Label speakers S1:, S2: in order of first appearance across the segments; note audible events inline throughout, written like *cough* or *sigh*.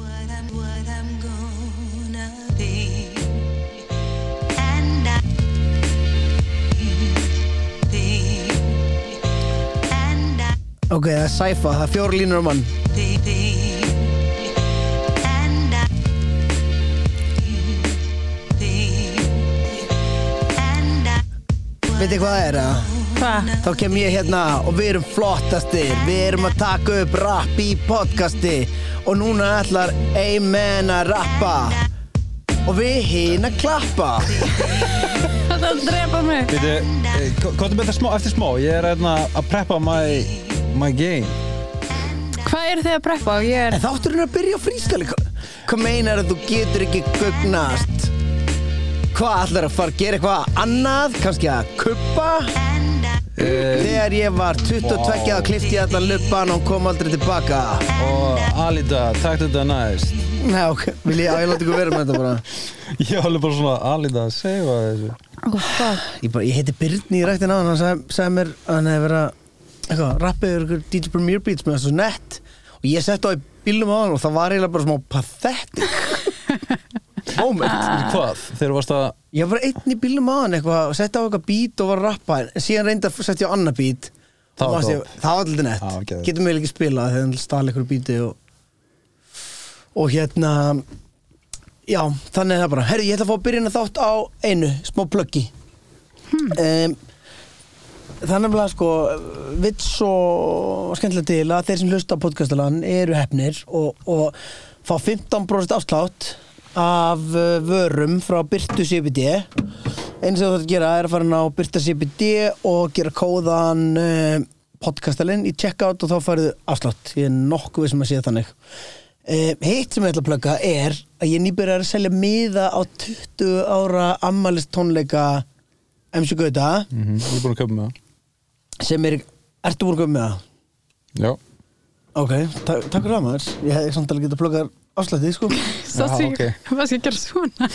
S1: what I'm gonna be. And I be, and I
S2: Ok, það er sæfa, það er fjóru línur á mann
S1: be, be, and I be, and I
S2: Veitir hvað það er að?
S3: Hvað?
S2: Þá kem ég hérna og við erum flottastir Við erum að taka upp rap í podcasti Og núna ætlar Amen að rappa Og við hin að klappa
S3: Það er að drepa mig
S4: Býtu, eh, komdu með þetta smá, eftir smá, ég er hérna að preppa my, my game.
S3: Hvað eru þið að preppa? Ég er
S2: En þátturinn er að byrja á frískali Hvað meinar að þú getur ekki gugnast? Hvað ætlar að fara að gera eitthvað annað? Kannski að kuppa? Um, Þegar ég var 22 wow.
S4: Vá.
S2: og klifti ég allan luppan og hún kom aldrei tilbaka
S4: Og Alida, takk þetta næst.
S2: Já, ok, vil ég, á, ég láta ykkur vera með þetta bara
S4: Ég var alveg bara svona, Alida, segja hvað þessu.
S3: oh, fuck.
S2: Ég, bara, ég heiti Birni í rættin á hann, hann sagði, sagði mér að hann hefði verið að eitthvað, rappið yfir ykkur DJ Premier Beats með þessu nett og ég sett á í bílnum á hann og það var eiginlega bara smá pathetic moment
S4: Hvað, þegar þú varst að,
S2: Ég var bara einn í bílnum á hann eitthvað og sett á eitthvað beat og var að rappa en síðan reyndi að setja á annað beat
S4: Það
S2: og
S4: var
S2: varst ég-
S4: dope.
S2: það var alltaf
S4: Það var
S2: nett
S4: geðveikt.
S2: getum við ekki spilað þegar hann stali ykkur beati og, og hérna já, þannig er það bara herru, ég ætla að fá að byrja að þátt á einu smá pluggi hmm. Þannig að sko, vits og skemmtilega til að þeir sem hlusta á podcastalann eru hefnir og, og fá 15% afslátt af uh, vörum frá Byrtu CBD eins og þú ætti að gera er að fara inn á Byrta CBD og gera kóðan uh, podcastalinn í checkout og þá færðu afslátt ég er nokkuð við sem að sé þannig uh, Hitt sem ég ætla að plugga er að ég nýbyrjar að selja miða á 20 ára ammalist tónleika MC Gauta
S4: ég er búin að köpa með það.
S2: sem er, ertu búin að koma með það?
S4: Já.
S2: Ok, ta takk fyrir það maður Ég hefði samt alveg getað að plugga afslættið sko
S3: Svo
S4: Já,
S3: því,
S4: ok.
S3: hvað skal ég gera svona?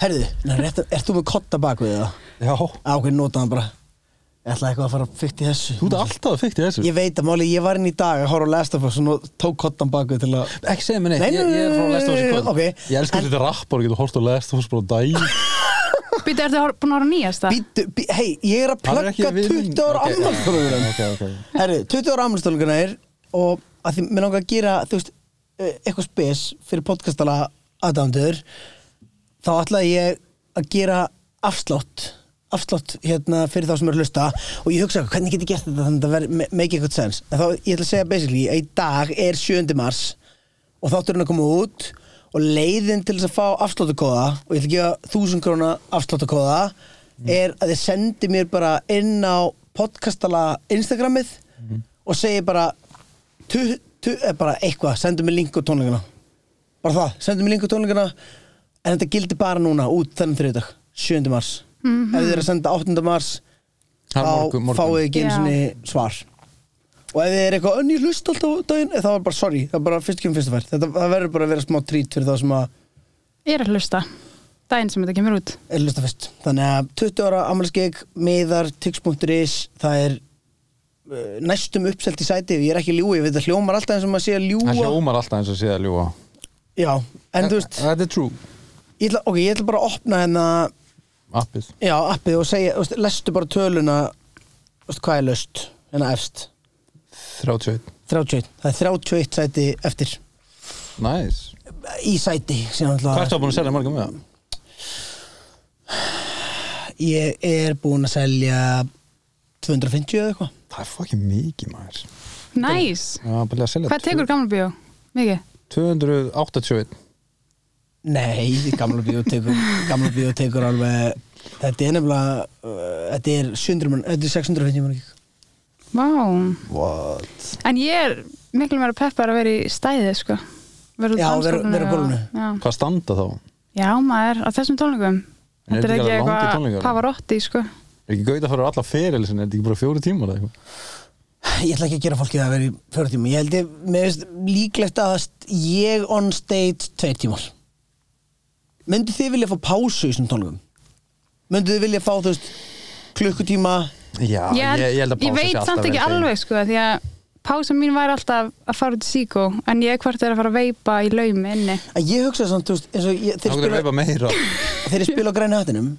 S2: Herðu, na, rétt, ert þú með kotta bak við það?
S4: Já.
S2: Á, ok, nota hann bara Ég ætla eitthvað að fara að fykta í þessu
S4: Þú ert alltaf fyrkt í þessu.
S2: Ég veit að máli, ég var inn í dag að horfa á Last of Us og nú tók kottan bak við til að
S4: Ekki segja mér neitt,
S2: Nei,
S4: ég, ég er frá Last of Us í kvöld.
S2: ok.
S4: Ég elskar
S2: En-
S4: þetta rappar og getur hort á Last of Us bara á daginn.
S2: *laughs*
S3: Býtu, ertu hor- búin að horfa á nýjasta?
S2: Býtu, bí, hei, ég er að
S4: Hann er ekki
S2: plugga
S4: við minn-
S2: 20 ára
S4: ok,
S2: okay, afmálstólugurinn
S4: ok, ok, ok.
S2: Herru, 20 ára afmælstólugurinn er og að því mér langar að gera, þú veist eh, eitthvað spes fyrir podcastala aðdándur þá ætlaði ég að gera afslátt afslátt hérna fyrir þá sem eru að hlusta og ég hugsa hvernig get ég gert þetta þannig að það verði make eitthvað sense en þá ég ætla að segja basically að í dag er 7. mars og þátturinn að koma út og leiðin til þess að fá afsláttakóða og ég ætla að gefa 1000 króna afsláttakóða er að þið sendi mér bara inn á podcastala Instagramið og segi bara, tu, tu, eh, bara eitthvað, sendu mér link á tónleikana bara það, sendu mér link á tónleikana en þetta gildi bara núna út þennan þriðdag, 7. mars ef þið eru að senda 8. mars
S4: Það er
S2: þá
S4: morgun- morgun.
S2: fáið þið ekki einu
S3: Já.
S2: sinni svar og ef þið er eitthvað önni hlust alltaf á daginn eh, þá er bara sorry, það er bara fyrst kemur fyrst að fær þetta, það verður bara að vera smá trít fyrir þá sem að
S3: Ég er að hlusta. Daginn sem þetta kemur út.
S2: er hlusta fyrst þannig að 20 ára ammælskeg miðar, tix.is það er eh, næstum uppselt í sæti ég er ekki ljúi, ég veit að hljómar alltaf eins og maður sé að
S4: Það
S2: ljúa
S4: hljómar alltaf eins og sé að ljúa.
S2: já, en þú veist,
S4: Þetta er true.
S2: ég ætla, ok, ég ætla bara að opna hérna
S4: Appið.
S2: já, appið og segja, þú veist, lestu bara töluna þú veist, hvað er löst, hérna efst
S4: 31.
S2: 31, það er 31 sæti eftir
S4: Nice.
S2: í sæti sem
S4: Hvað
S2: alltaf
S4: ertu að búin að selja marga með það?
S2: ég er búinn að selja 250 eða eitthvað
S4: Það er fucking mikið maður
S3: Næs!
S4: Já, bara að selja
S3: Hvað tekur gamla bíó? Mikið?
S4: 281
S2: nei, í gamla bíó tekur gamla bíó tekur alveg þetta er nefnilega uh, þetta er, 700, mann- þetta er 650 mann
S3: Vá.
S4: What?
S3: En ég er miklu meira peppar að vera í stæði, sko. Vera út
S2: Já,
S3: á
S2: vera-
S3: dansgólfinu
S2: vera á gólfinu.
S3: og- Já.
S4: Hvað standa þá?
S3: Já, maður, á þessum tónleikum. Þetta
S4: En eru
S3: er
S4: þetta
S3: ekki
S4: ekki alveg langir
S3: eitthvað
S4: tónleikar?
S3: pavarotti, sko.
S4: Er ekki gauta fyrir alla feril sinni, er þetta ekki bara fjóri tímar eða eitthvað?
S2: ég ætla ekki að gera fólki það að vera í fjóra tíma ég held ég, mér veist líklegt að st- ég on stage tveir tímar myndu þið vilja fá pásu í þessum tónleikum? myndu þið vilja fá þú veist klukkutíma
S4: Já,
S3: Ég, held- ég veit samt ekki alveg, sko, því að pása mín væri alltaf að fara út í síkó en ég hvort er að fara að veipa í laumi inni
S2: En ég hugsa samt, þú veist, eins og ég,
S4: Þá
S2: þeir
S4: getur
S2: spila
S4: við bara meira
S2: þegar ég spila á græna hattinum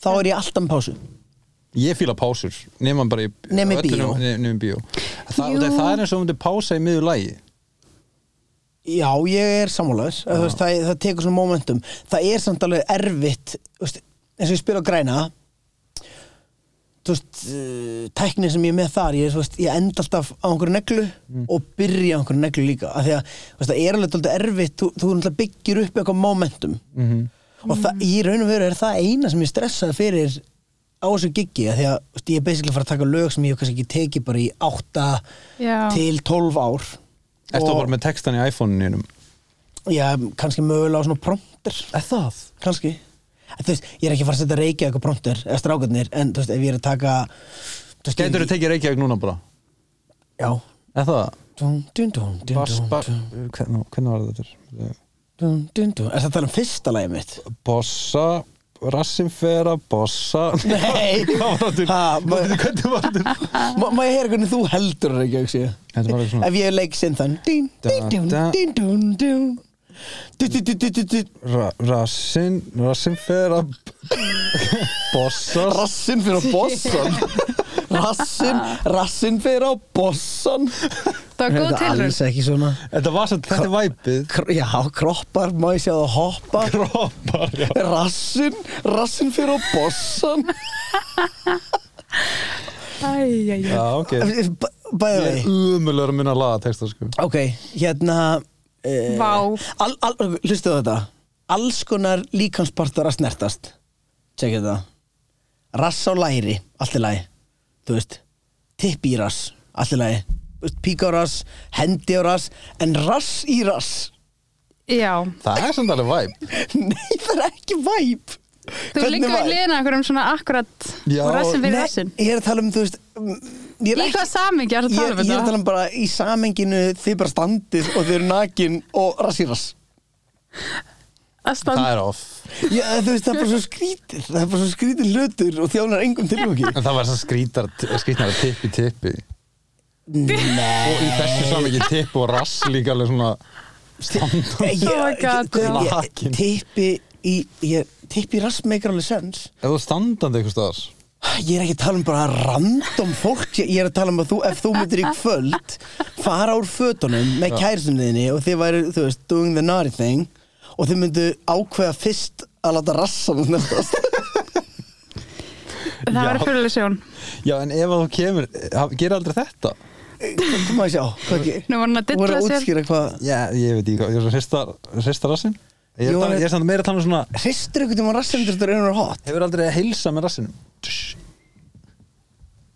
S2: þá er ég alltaf með pásu
S4: Ég fíla pásur, nema bara í
S2: Nema í
S4: öllu
S2: bíó.
S4: nema- nema í bíó Þa,
S3: Jú.
S4: það, það er eins og hún myndi pása í miður lagi
S2: já, ég er sammálaðis það, það, það tekur svona momentum það er samt alveg erfitt þú veist, eins og ég spila á græna þú veist eh, tæknin sem ég er með þar ég, er, þú veist, ég enda alltaf á einhverju neglu og byrja á einhverju neglu líka af því að þú veist, það er alveg dálítið erfitt þú, þú náttúrulega byggir upp eitthvað momentum
S4: mm -hmm.
S2: og það, í raun og veru er það eina sem ég stressaði fyrir á þessu giggi af því að þú veist, ég er basically að fara að taka lög sem ég hef kannski ekki tekið bara í 8
S3: Já.
S2: til 12 ár
S4: Ertu bara með textan í iPhone-inum?
S2: já, kannski mögulega á svona prompter
S4: Er það?
S2: kannski En þú veist, ég er ekki að fara að setja reykja eitthvað prompter eða strákarnir, en þú veist, ef ég er að taka þú veist,
S4: Gætur
S2: ég-
S4: þú tekið Reykjavík núna bara?
S2: já
S4: Er það?
S2: dun, dun, dun, dun,
S4: Bas,
S2: dun,
S4: ba
S2: dun,
S4: hvernig, hvernig var þetta?
S2: dun, dun, dun. er það að tala um fyrsta lagið mitt?
S4: Bossa Rassimfera, Bossa
S2: *laughs* nei,
S4: *laughs* Hvað var þetta?
S2: Ha, ma-
S4: Hvernig var þetta?
S2: má má ég heyra hvernig þú heldur reykja, ekki ég
S4: Þetta var eitthvað svona
S2: Ef ég leik sinn þann Dín,
S4: Da,
S2: dín, dún,
S4: da.
S2: dín, dún, dún Dú, dú, dú, dú, dú, dú
S4: Ra rassin, rassinfera Bossa
S2: Rassin fyrir á *laughs* bossan Rassin, rassin fyrir á bossan
S3: Það var góð tilraun
S2: alls ekki svona
S4: Þetta var svo, þetta er væpið
S2: Kr- Já, kroppar, má ég sjá það hoppa
S4: Kroppar, já
S2: Rassin, rassin fyrir á bossan
S3: Æjæjæ
S4: Já, ok
S2: B- Bæði
S4: Ég er
S2: vegi
S4: umulur að minna að laga texta, sko
S2: Ok, hérna eh,
S3: Vá.
S2: al, al, Hlustu á þetta Alls konar líkanspartar að snertast Tjekkið þetta Rass á læri, allt í lagi Þú veist, tipp í rass Allt í lagi, Þú veist, pík á rass Hendi á rass, en rass í rass *laughs*
S3: Já,
S4: Það er samt alveg væp
S2: Nei, það er ekki væp
S3: þú er líka við liðna okkur um svona akkurat
S4: Já,
S3: og rassin fyrir rassin
S2: Nei, ég er að tala um, þú veist mm, Ég er
S3: Í
S2: ekki
S3: hvað samingi er
S2: Ég,
S3: það
S2: ég er
S3: tala um
S2: að tala
S3: þetta?
S2: um bara í samenginu þið bara standið og þið eru nakin og rass í rass um-
S3: Að
S4: Það
S3: standa
S4: er off
S2: Já, eh, þú veist, það er bara svo skrítið Það er bara svo skrítið hlutur og þjónar engum
S3: *laughs*
S2: tilvöki
S4: En það var svo skrítar, skrítnar að tippi tippi
S3: Oh
S2: Nei
S4: Og í þessu saman ekki tipp og rass líka alveg svona
S2: Ég-
S3: Oh my God,
S2: guð,
S4: já.
S2: ég-
S4: Nakin.
S2: Tippi í ég, Tippi í rass meikar alveg sens
S4: Ef þú standandi eitthvað staðar
S2: Ég er ekki að tala um bara random fólk Ég ég er að tala um að þú, ef þú myndir í kvöld Fara úr fötunum með kæristunniðinni Og þið væri, þú veist, doing the naughty thing Og þið myndu ákveða fyrst að láta rassanum nefnast
S3: *laughs* Það
S4: Já.
S3: var fyrirlega sjón
S4: Já, en ef að þú kemur, gera aldrei þetta
S2: Hvað maður sjá, hvað ekki?
S3: Nú var hann að
S2: Þú voru
S3: dilla
S2: að
S3: sér
S2: útskýra hvað
S4: Já, ég veit ekki hvað, ég er svona hrista rassin Ég er,
S2: Jú,
S4: Jú,
S2: en-
S4: ég er samt meira að tala um svona
S2: Hristur ykkur tíma rassendur þetta er einhver hot
S4: Hefur aldrei að heilsa með rassinum Tss.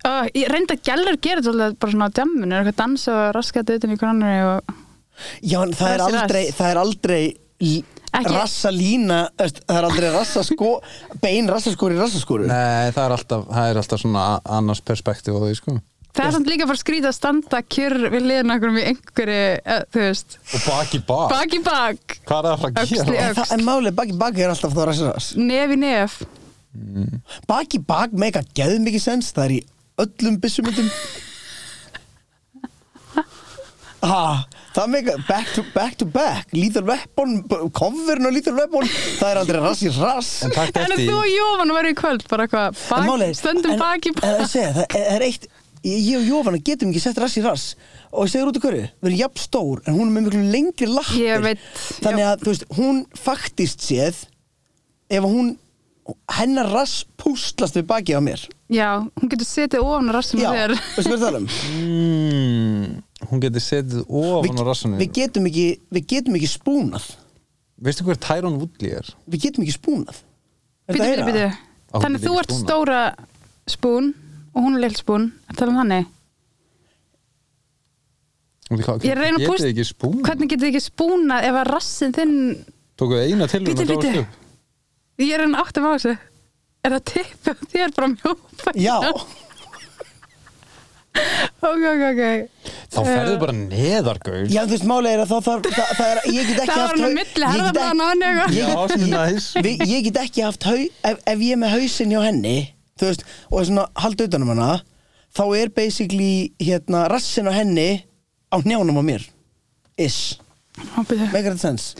S3: Ó, Ég reyndi að gælur gera þetta alltaf bara svona á djamminu eitthvað dansa og raskata utan í hvernig og...
S2: Já, en það er
S3: Rass í
S2: aldrei,
S3: rass.
S2: það er aldrei l-
S3: Ekki-
S2: rassa lína, veist, það er aldrei rassa sko, bein rassa skóri rassa skóri.
S4: Nei, það er alltaf, það er alltaf svona a- annars perspektíf á því, sko Og
S3: Það er samt líka bara skrýta að standa kjur við liðna okkur í einhverju, eh, þú veist
S4: bak í bak
S3: bak í bak,
S4: Hvað er það að fara að
S3: Öxl í
S4: gera?
S3: öxl.
S2: En, það, en málið baki baki er alltaf þá rassa rass.
S3: nef í nef
S2: Baki bak meika geð mikið sens, það er í öllum byssumöndum. Ha, það meika back to back, to back lethal weapon, b- coverin og lethal weapon, það er aldrei rass í rass.
S4: En takk
S3: En
S4: eftir
S3: þú og Jóvan verður í kvöld bara eitthvað,
S2: En
S3: bak,
S2: málið er-
S3: stöndum
S2: en-
S3: bak í
S2: en
S3: bak
S2: það segja, það er- er eitt ég ég og Jófanna getum ekki sett rass í rass og ég segir út í hverju, við erum jafn stór en hún er með miklu lengri lappir
S3: Ég veit,
S2: þannig að þú veist, hún faktist séð ef hún hennar rass pústlast við bakið á mér
S3: *laughs* Já, hún getur setið ofan á rassinu
S2: já,
S3: þér
S2: veistu hvað það um
S4: mm, Hún geti setið *laughs* ofan á rassinu
S2: við getum ekki, við getum ekki spúnað
S4: Veistu hver Tyrone Woodley er?
S2: við getum ekki spúnað Er þetta
S3: Býtu,
S2: að
S3: býtu,
S2: heyra?
S3: býtu
S4: Á,
S3: Þannig
S4: hún
S3: þú
S4: getur
S3: ert
S4: ekki
S3: stóra spún og hún er lill spún, að tala um þannig Ég reyna að púst-
S4: Getið ekki spún
S3: Hvernig getur þið ekki spúnað ef að rassin þinn
S4: Tókuðu eina til
S3: Bíddu, bíddu. Ég er enn áttum á þessu Er það tippið á þér bara mjópa
S2: já,
S3: *laughs* Ok, ok, ok
S4: Þá ferðu
S3: Uh,
S4: bara neðar, gaur
S2: já, þú veist, málega er að það, það, það, það er ég get ekki haft
S3: Það var hann á
S2: hau- ég
S3: milli
S2: get ekki-
S3: herðablaðan á henni eitthvað
S4: Já,
S3: *laughs*
S4: sem er næs
S2: við, ég get ekki haft hau, ef, ef ég er með hausinn hjá henni þú veist, og er svona halda utanum um hana þá er basically hérna rassin á henni á njánum á mér is,
S3: Hoppið þau.
S2: make it sense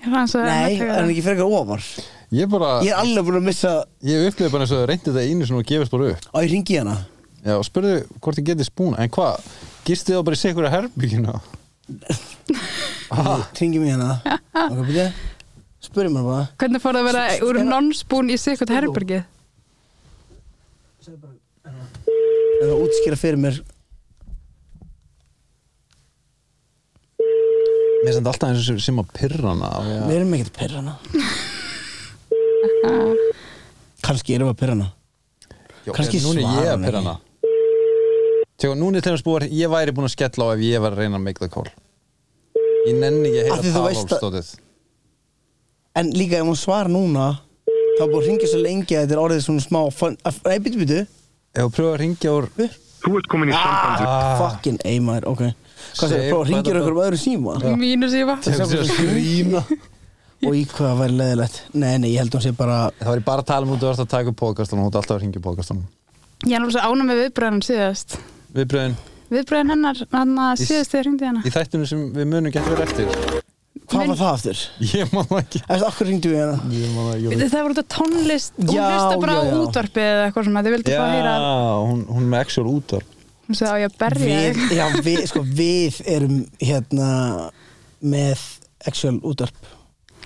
S3: Ég er aðeins að
S2: nei,
S3: taka
S2: er
S3: það.
S2: hann ekki frekar ofar
S4: Ég bara,
S2: ég er alveg búin að missa
S4: ég upplifði bara eins og þau reyndi þetta einu svona og gefist bara upp
S2: á ég ringi hana
S4: Já, og spurðu hvort þið getið spúna En hvað, gistið þá bara í sikur að herbyggina
S2: ringi mig hana ok, byrja spurði mér bara
S3: Hvernig fór það að vera úr non-spoon í sikkert herbergið?
S2: eða útskýra fyrir mér
S4: Mér sendi alltaf eins og sem að pyrra hana
S2: við erum ekkert að *laughs* perra hana kannski erum við að perra hana
S4: Já,
S2: kannski
S4: en núna er ég
S2: svarar
S4: að
S2: hún
S4: pyrra
S2: ekki.
S4: hana Tjá, núna er til þess búar Ég væri búin að skella á ef ég var að reyna að make the call Ég nenni ekki
S2: Af
S4: að
S2: því þú
S4: heyra
S2: veist að-
S4: találstótið
S2: en líka ef hún svarar núna þá er búin að ringja svo lengi að þetta er orðið svona smá fun, að, nei, byttu, byttu
S4: Ef þú pröfa að ringja úr
S5: Þú ert komin í samband við
S2: ah. fucking eimaður, ok hvað segir,
S4: Segir
S2: prófa að ringja
S4: hvað
S2: ykkur um öðru síma
S3: Mínus ég var.
S4: Þegar þú skrýna
S2: og í hvað það væri leðilegt nei, nei, ég held hún sé bara
S4: Það var ég bara að tala um út og verðst að taka upp podcastunum Hún er alltaf að ringja podcastunum
S3: Ég er alveg svo ánum með viðbröðanum síðast.
S4: Viðbröðin
S3: Viðbröðan hennar, hann að
S4: Í-
S3: síðast þegar hringdi hana.
S4: í þættunum sem við munum getur verið eftir
S2: hvað
S3: Minn-
S2: var það aftur?
S4: Ég man það ekki
S2: eftir, okkur ringdu við hana
S4: Ég man það ekki
S3: Það voru þetta tónlist, hún
S2: Já,
S3: hlusta bara á
S2: já, já.
S3: útvarpið eða eitthvað svona, þið vildi
S4: Já,
S3: bara heyra,
S4: hún, hún er með actual útvarp
S3: hún sagði á ég að berja
S2: við,
S3: þig.
S2: já, við, sko, við erum hérna með actual útvarp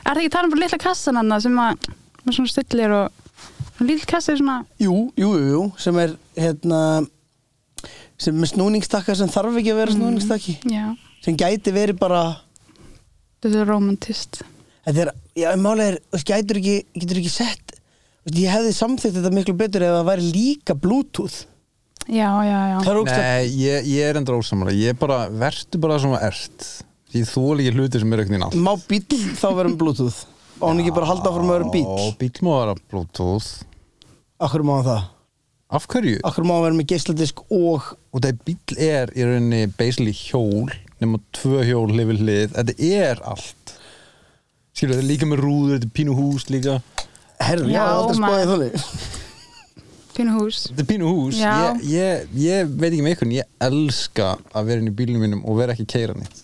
S3: Er það ekki talað um bara litla kassan hann sem að, maður svona stillir og, og litla kassa er svona,
S2: jú, jú, jú, jú, sem er hérna sem er með snúningstakka sem þarf ekki að vera snúningstakki
S3: já,
S2: sem gæti verið bara
S3: þetta er romantist.
S2: þetta er, já, málega er, þú veist, gætur ekki getur ekki sett, þú veist, ég hefði samþygt þetta miklu betur ef það væri líka bluetooth
S3: Já, já, já.
S2: það er ógst
S4: Nei, ég, ég er endur ósamlega Ég bara, vertu bara svona ert Því þú er ekki hluti sem er auknin allt
S2: má bíl þá vera um bluetooth og hann ekki bara halda áfram að vera um bíl
S4: Ó, bíl má vera bluetooth
S2: Akkur má hann það?
S4: Af hverju?
S2: Akkur má hann vera með geisladisk og
S4: Og það bíl er í rauninni basically hjól nema tvö hjól hlifil hlið Þetta er allt Skilur, þetta er líka með rúður, þetta er pínu hús líka
S2: Herru, já,
S3: Já,
S2: aldrei spáði
S3: maður.
S2: þannig
S3: Pínu hús.
S4: Þetta er pínu hús
S3: Já.
S4: ég, ég, ég veit ekki með ykkur en ég elska að vera inn í bílnum mínum og vera ekki að keira nýtt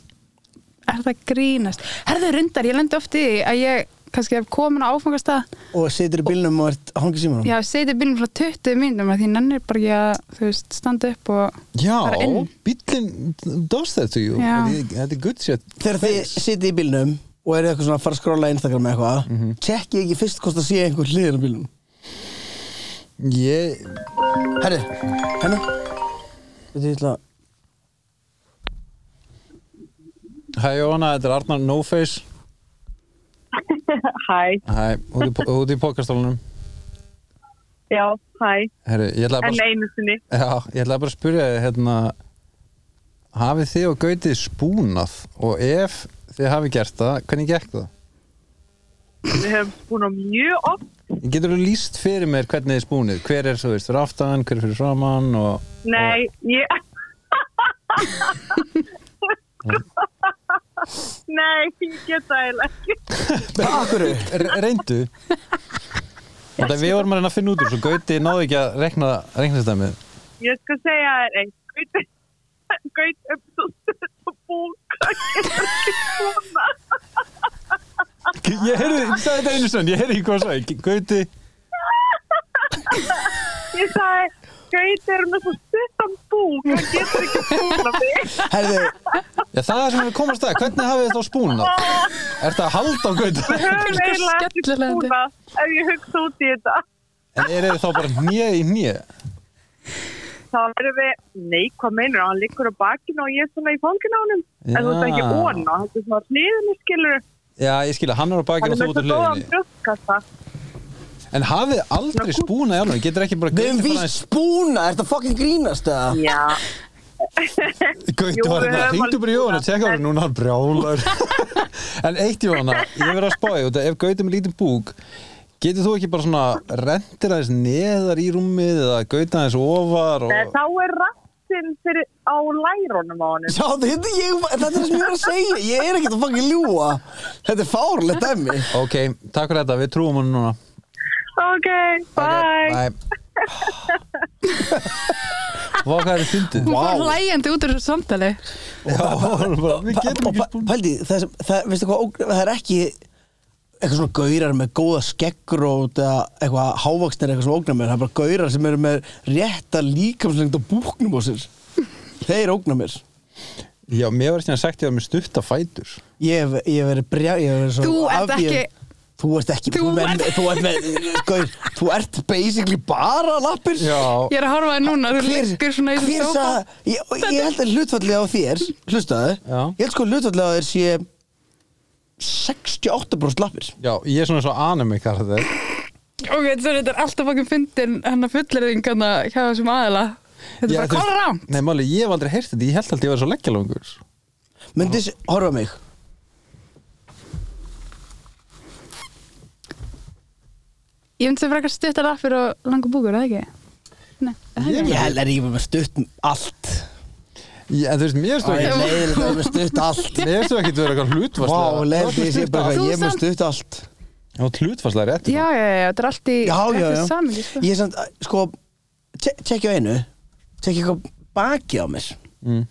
S3: Er það grínast? Herðu rundar, ég lendi oft í því að ég kannski hef komin á áfangastað
S2: Og situr í bílnum og ert að hangi síma
S3: Já, seti bílum frá 20 mínútum að því nennir bara ekki að, þú veist, standa upp og
S4: Já,
S3: fara inn.
S4: bíllinn does that to you
S3: Já.
S4: Þetta þetta er good shit
S2: Þegar þið situr í bílnum og eru eitthvað svona að fara að skrolla Instagram eða eitthvað mm -hmm. Tjekki ekki fyrst hvort það sé einhver hliðin á bílnum
S4: Ég,
S2: Herru, hennu Þetta er illa
S4: hæ Jóhanna, þetta er Arnar No-Face
S6: Hæ,
S4: Hæ, út í, po- út í pokastólunum
S6: já, hæ,
S4: Herri, ég ætlaði bara
S6: enn einu sinni.
S4: Já, ég ætlaði bara að spyrja þið hérna, hafið þið og Gautið spúnað og ef þið hafið gert það, hvernig gekk það?
S6: Við höfum búin á mjög oft.
S4: Getur þú líst fyrir mér hvernig þið spúnið? Hver er, þú veist, fyrir aftan, hver er fyrir framann og...
S6: Nei, ég... Nei, ég get það eiginlega ekki.
S4: Akkur, reyndu Þetta við vorum að reyna að finna út úr svo Gautið náði ekki að rekna, rekna þetta með
S6: Ég skal segja þér eitt. Gaut, gaut upp svo stutt og búka. Ég er ekki svona.
S4: Ég heyrði, ég sagði þetta einu sönn, ég heyrði ekki hvað það sagði Gautið,
S6: Ég sagði, gaut er með svo stuttan búk. Hann getur ekki svona mig.
S2: Herru,
S4: já það er sem við komast að Hvernig hafið þið þá spúnað? Er þetta að halda á Gautið?
S6: Höfum
S3: Þetta er
S6: eiginlega ekki
S3: skellilegandi.
S6: svona ef ég hugsa út í þetta.
S4: En eru þið þá bara hnið í hnið?
S6: þá erum við, nei, hvað meinur hann liggur á bakinu og ég er svona í fanginu á hann en þú veist
S4: Já.
S6: ekki vona, þetta er svona hliðinu skilur
S4: Já, ég skilja, hann er á
S6: hann
S4: bakinu
S6: er
S4: og þú út
S6: með
S4: á
S6: svo góðan
S4: hliðinni
S6: brjóstkassa
S4: En hafið þið aldrei spúnað í alveg, getur ekki bara
S2: við hefum
S4: Gauti
S2: víst spúna, ert að fucking grínast eða?
S4: *laughs*
S6: já,
S4: Gauti
S6: Jú,
S4: var
S6: við
S4: hérna,
S6: höfum
S4: hringdu bara í
S6: alveg
S4: Jóhanna, tjekka hann, núna hann brjálar *laughs* En eitt Jóhanna, ég verið að spája út að ef Gauti er með lítið búk Getur þú ekki bara svona rendir aðeins neðar í rúmið eða Gauti aðeins ofar
S6: en
S4: og...
S6: þá er rassinn fyrir á lærunum á hann
S2: Já, þetta, ég, þetta er það sem ég er að segja Ég er ekkert að fucking ljúa Þetta er fárlegt dæmi
S4: Ok, takk fyrir þetta, við trúum hann núna
S6: ok, bye
S4: Ok, bye. Vá, hvað er fyndið?
S3: Hún fór hlægjandi út úr þessu samtali
S4: Já, bara, *laughs* við getum ekki spúl
S2: Pældi, það, sem- það, veistu hvað, ógn- það er ekki eitthvað svona gaurar með góða skeggrót eða eitthvað hávaksnir eitthvað svona ógnar mér, það er bara gaurar sem eru með rétta líkamslengt á búknum á sér þeir ógnar mér
S4: Já, mér var síðan sagt ég var með stutta fætur
S2: ég hef, ég hef verið brjá ég hef verið
S3: Þú
S2: svona
S3: ert
S2: afbíð-
S3: ekki-
S2: þú ert ekki
S3: Þú
S2: þú,
S3: ert-
S2: ert þú ert með, gaur, þú ert basically bara lappir
S4: Já,
S3: Ég er að horfa það núna, þú
S2: Hver,
S3: liggur svona í
S2: hver
S3: þessu sófa
S2: sagði, ég, og ég held að hlutfallið á þér, hlustaðu,
S4: Já.
S2: ég held sko hlutfallið á þér sé 68% lappir.
S4: já, ég er svona svo anime karakter
S3: Ok, svo þetta er alltaf okkur fyndin hennar fullirðing hann að hjá þessum aðila Þetta er bara
S4: Já, þú veist-
S3: kóra rám
S4: Nei, máli, ég hef aldrei heyrt þetta, ég held alltaf ég var svo leggjalangur
S2: Myndis, horfa á mig.
S3: Ég myndi sem frekar stuttar lappir og langar búkur, eða ekki? Nei, það
S4: Ég-
S3: ekki
S2: Ég held að ég var með stutt um allt.
S4: Ég- En þú veist, mér
S2: Það er
S4: finnst þú ekki
S2: leiðilegt að ég er með stutt allt.
S4: Mér finnst þú ekki að vera eitthvað
S2: Vá,
S4: hlutvarslega
S2: leiðilegt að ég sé bara
S3: allt.
S2: eitthvað, ég er
S3: Þú
S2: með
S3: samt-
S2: stutt allt.
S4: Já, hlutvarslega rétt sko.
S3: Já, já, já, þetta er allt í
S2: Já, já, já.
S3: samingi, sko.
S2: Ég er samt, sko, te- tekja á einu, tekja eitthvað baki á mér.
S4: mm.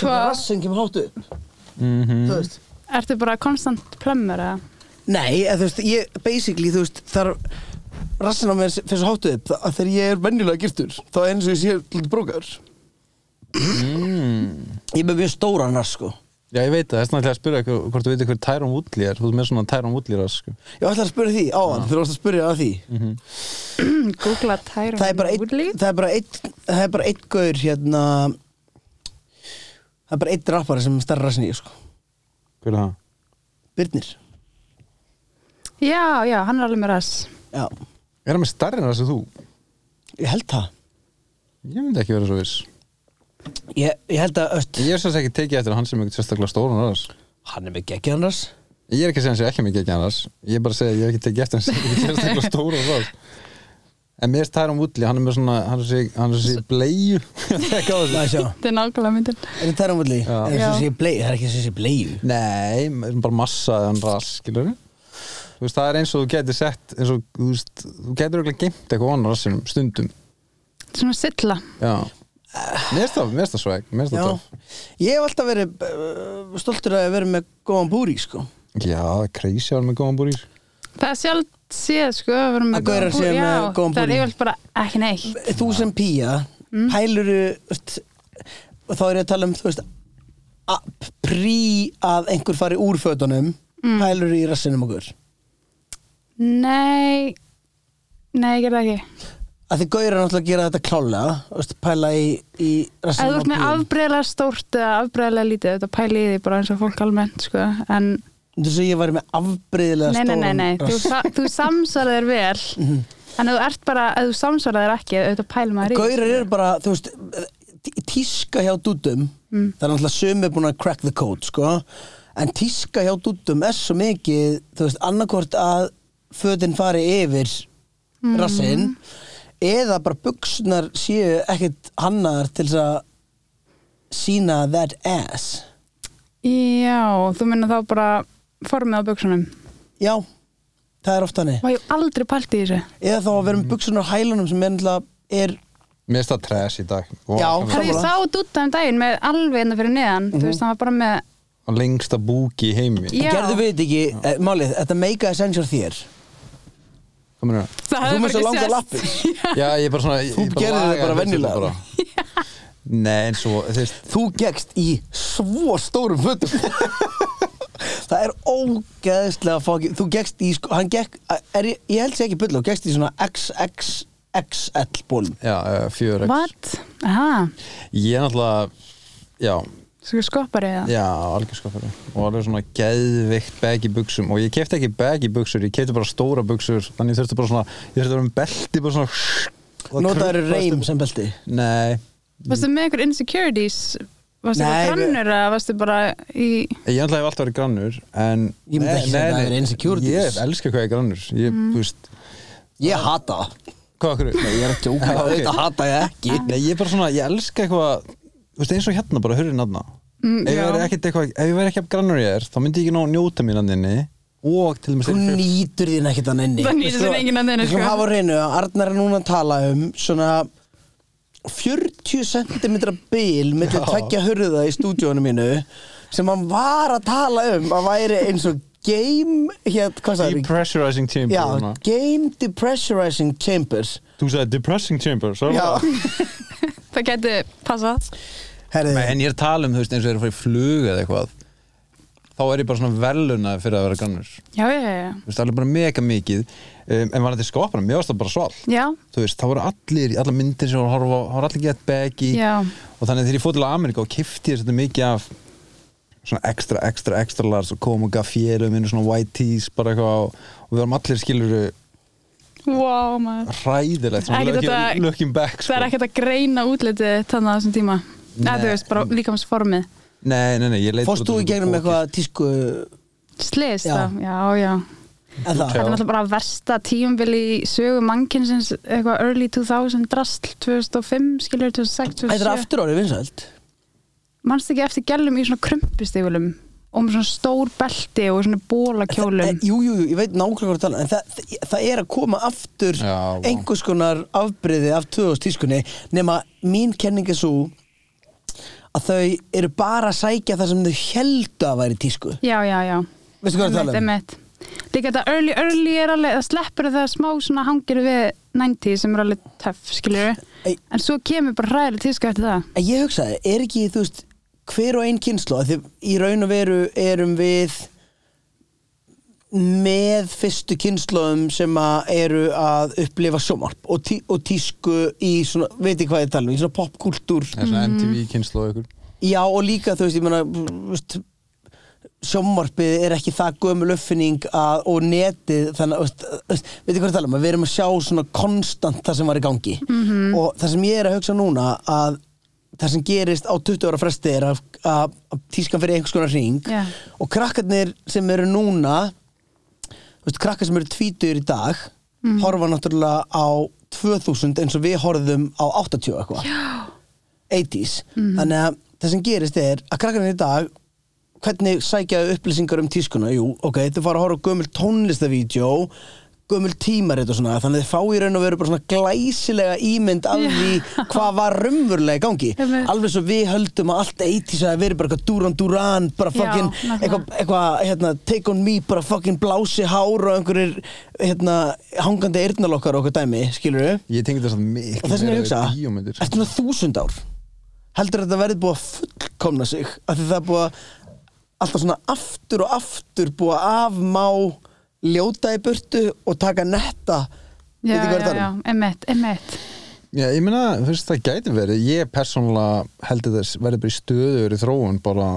S2: Hvað?
S3: Hvað,
S2: Rassin kemur hátt upp,
S4: Mm
S2: þú veist.
S3: ertu bara konstant plömmur, eða?
S2: Nei, eða, þú veist, ég, basically, þú veist, þar rassin á mér fyrir svo hátu upp það- að þegar ég er venjulega giftur, þá er eins og ég sé lítið brókar. Ég er með mjög stóran rass, sko.
S4: Já, ég veit það, þess vegna ætla ég að spyrja ykkur, hvort þú veit hver Tyrone Woodley er, þú ert með svona Tyrone Woodley sko. rask
S2: Ég ætla að spyrja því áðan, þú varst að spyrja að því.
S3: Googla Tyrone
S2: Það er bara
S3: Woodley.
S2: einn, það er bara einn, það er bara einn gaur, hérna, það er bara einn rappari sem er stærra rassin í, sko.
S4: Hver er það?
S2: Byrnir.
S3: Já, já, hann er alveg með rass.
S2: Já,
S4: Er hann með starri rask en þú?
S2: ég held það.
S4: Ég myndi ekki vera svo viss
S2: Ég, ég held að, öst,
S4: Ég er svo sem ekki tekið eftir að hann sem ekki sérstaklega stóran rask
S2: hann er með geggjan rass.
S4: Ég er ekki að segja hans ég ekki mikið ekki annars Ég er bara að segja að ég hef ekki tekið eftir hans Ég er sérstaklega stóra rás En mér er Tæram Woodley, hann er með svona Hann er svo sé- hann er svo sé bleju Ekki á
S2: *laughs* Það
S4: þessu.
S2: er sjá.
S3: Þetta er nákvæmlega myndin.
S2: Er það tæra múli?
S4: Já.
S2: Er það
S3: Já.
S2: sem sé bleið? Það er ekki sem sé bleið.
S4: *laughs* Nei, bara massa en rask skilurðu. Þú veist, það er eins og þú getur sett eins og, þú veist, þú getur auðvitað geimt eitthvað annar rassinum, stundum
S3: Þetta er Svona silla.
S4: Já Mér er það, mér er það sveg, mér er
S2: Já,
S4: það töff
S2: ég hef alltaf verið uh, stoltur að vera með góðan búri sko.
S4: Já, það er crazy að vera með góðan búrís
S3: Það er sjálf séð, sko, að vera með
S2: Að gaurar séu
S3: já,
S2: með góðan
S3: það er
S2: búning.
S3: yfirallt bara ekki neitt.
S2: Þú sem pía,
S3: Mm.
S2: pæluru veist, og þá er ég að tala um þú veist, að, prí að einhver fari úr fötunum
S3: Mm.
S2: pæluru í rassinum okkur
S3: Nei, nei, ég gerði það ekki.
S2: að þið gauður náttúrulega að gera þetta klálega veist, pæla í, í
S3: Ef þú
S2: rassinum
S3: ert með afbreyðlega stórt eða afbreyðlega lítið, þetta pæli í því bara eins og fólk almennt, sko, en
S2: Þú veist að ég væri með afbreyðilega
S3: nei, nei,
S2: stóran Mhm.
S3: nei,
S2: *laughs*
S3: nei, þú,
S2: rass.
S3: sa, þú samsvarað þér vel, en ef þú ert bara, ef þú samsvarað þér ekki, auðvitað pæli maður í.
S2: Gaurar eru bara, þú veist tí- tíska hjá dúdum það er náttúrulega sömu búin að crack the code sko. en tíska hjá dúdum er svo mikið, þú veist, annarkvort að fötin fari yfir rassinn eða bara buksnar séu ekkit hannar til þess að sína that ass
S3: Já, þú minna þá bara formið á buksunum.
S2: já, það er oft hannig
S3: Má ég hef aldrei pælt í þessu?
S2: eða þá að vera með buksunar á hælunum sem er, náttúrulega- er
S4: Mér er það trash í dag Vá,
S2: Já,
S4: hann er-
S3: Þegar ég
S2: Sammála.
S3: sá dutta um daginn með alveg innan fyrir neðan,
S2: Mhm.
S3: þú veist, hann var bara með,
S4: hann lengsta búki í heimi
S3: já,
S2: gerðu við þetta ekki, eh, málið, þetta meika essential þér
S4: Hvað meinarðu?
S3: það
S2: þú
S3: hefur
S2: með svo
S3: bara
S2: langa
S3: ekki
S2: lappir
S3: sést.
S4: Já, ég er bara svona ég-
S2: Þú
S4: ég
S2: gerðir
S4: laga
S2: þig bara
S4: þetta
S2: venjulega.
S4: bara. *laughs* Nei, en svo, þú veist
S2: Þú gegst í svo stórum fötum *laughs* Það er ógeðslega fokki Þú gegst í, sko, hann gekk er, ég- Ég held sér ekki bull Þú gegst í svona XXXL bólum
S4: Já, fjör
S3: What? Aha,
S4: Ég er náttúrulega Já,
S3: svo skopparið það.
S4: Já, algjörskapari og alveg svona geðvikt bag í buksum og ég kefti ekki bag í buksur, ég kefti bara stóra buksur þannig ég þurfti bara svona, ég þurfti að vera um belti bara svona og
S2: Notaður
S4: krumpast
S2: reym
S4: um-
S2: sem belti
S4: Nei,
S3: Varstu með einhver insecurities? Varstu
S2: Nei,
S3: bara
S2: við-
S3: grannur eða varstu bara í...
S4: ég ætlaði alltaf að vera grannur en
S2: Ég myndi ekki segja að það er insecurities.
S4: Ég elska hvað ég er grannur Ég, þú veist,
S2: Ég hata það
S4: hvað okkur
S2: Nei, Ég er að *laughs* tjóka,
S4: Já, ok.
S2: þetta hata ég ekki
S4: Nei, ég er bara svona, ég elska eitthvað Þú veist, eins og hérna bara hurðin aðna
S3: Mm,
S4: ef, ég
S3: já.
S4: væri ekkert eitthvað- ef ég væri ekki að grannur ég er þá myndi ég ekki ná að njóta mín að inni og til dæmis
S2: Þú
S4: þeirri fjöld
S2: nýtur þín ekkert að nenni
S3: Það nýtur þín enginn að neinu,
S2: Við skulum
S3: sko.
S2: hafa á reynu að Arnar er núna að tala um svona 40 cm bil millir
S4: Já.
S2: tveggja hurða í stúdíónu mínu sem hann var að tala um að væri eins og game hér, hvað sagði
S4: Depressurizing chamber
S2: Já,
S4: hana.
S2: game depressurizing chambers
S4: Þú sagði depressing chamber svo er
S2: Já,
S4: það.
S3: Það gæti passað
S2: herriði
S4: En ég er að tala um þú veist eins og er að fara í flug eða eitthvað þá er ég bara svona veluna fyrir að vera grannur
S3: Já, já, já, já.
S4: þú veist, alveg bara mega mikið um, en var þetta skopna, mér varst það bara sval
S3: já
S4: þú veist, þá voru allir, allar myndir sem voru að horfa á, þá voru allir gett baggy
S3: Já.
S4: og þannig að þegar ég fór til Ameríka og kifti ég þetta mikið af svona extra, extra, extra large og kom og gaf fjörum inn svona white tees bara eitthvað og, og við varum allir skiluru
S3: Wow, maður
S4: hræðilegt svona
S3: Ekkert þetta-
S4: looking, looking back
S2: Sko.
S4: sko.
S3: Það er ekkert að greina útlitið þannig á þessum tíma Nei,
S4: Nei.
S3: þú veist, bara líkamsformið
S4: nei, nei, nei, ég leit
S2: Fórst
S4: bara
S2: þú
S4: út
S2: í
S4: eins og
S2: gegnum
S4: ógeð.
S2: eitthvað tísku
S3: Slis,
S2: Já.
S3: það, já, já
S2: eða
S3: Það
S2: það?
S3: var náttúrulega bara versta tíumbil í sögu mannkynsins eitthvað early 2000 drastl 2005, skilur 2006,
S2: Þetta er
S3: 2007
S2: aftur árið vinsælt
S3: Manstu ekki eftir gælum í svona krumpistígulum og með svona stór belti og svona bólakjólum
S2: Eh, Jú, jú, jú, ég veit nákvæmlega hvað það en það, það, það er að koma aftur
S4: Já, vá.
S2: einhvers konar afbreyði af 2000 tískunni nema mín kenning er svo að þau eru bara að sækja það sem þau heldu að væri tísku
S3: Já, já, já
S2: Veistu hvað ég er að tala um?
S3: Einmitt, einmitt. Líka þetta early, early er alveg það sleppur það smá svona hangir við 90 sem er alveg töff, skilur
S2: Ei.
S3: en svo kemur bara ræðileg tíska eftir það
S2: En ég hugsaði, er ekki, þú veist, hver og ein kynslu því í raun og veru erum við með fyrstu kynsluðum sem að eru að upplifa sjómarp og, tí, og tísku í svona, veit ég hvað ég tala um, í svona popkultúr
S4: Það er svona
S3: Mm.
S4: MTV kynnslu og ykkur
S2: Já og líka þú veist, ég meina þú veist, sjónvarpið er ekki það gömul uppfinning að, og netið þannig, veist, veist, veit hvað ég tala um að við erum að sjá svona konstant það sem var í gangi -hmm. og það sem ég er að hugsa núna að það sem gerist á 20 ára fresti er að, að, að tískan fyrir einhvers konar hring
S3: Já.
S2: og krakkarnir sem eru núna þú veist, krakkar sem eru tvítur í dag horfa náttúrulega á 2000 eins og við horfðum á 80 og eitthvað 80s þannig að það sem gerist er að krakkarnir í dag hvernig sækja þau upplýsingar um tískuna jú, ok, þau fara að horfa á gömul tónlistavídjó gömul tímarit og svona þannig að þau fá í raun og veru bara svona glæsilega ímynd af því hvað var raunverulega í gangi
S3: Einmitt.
S2: alveg svo við höldum að allt 80s að verið bara eitthvað Duran Duran bara
S3: Já,
S2: fucking
S3: nákvæmlega.
S2: eitthvað eitthvað, hérna, take on me, bara fucking blási hár og einhverjir, hérna, hangandi eyrnalokkar og okkur dæmi, skilur við?
S4: Ég tengi þetta svona miklu
S2: Og þess vegna ég
S4: meira við
S2: hugsa,
S4: bíómyndir. sko.
S2: eftir svona þúsund ár, heldur þetta verði búið að fullkomna sig, af því það er búið að alltaf svona aftur og aftur búið að afmá ljóta í burtu og taka netta,
S3: Já,
S2: veit ég hvað
S3: já,
S2: er það
S3: já,
S2: um?
S3: emitt, emitt
S4: Já, ég meina, þú veist, það gæti verið ég persónulega held að það verði bara í stöður í þróun, bara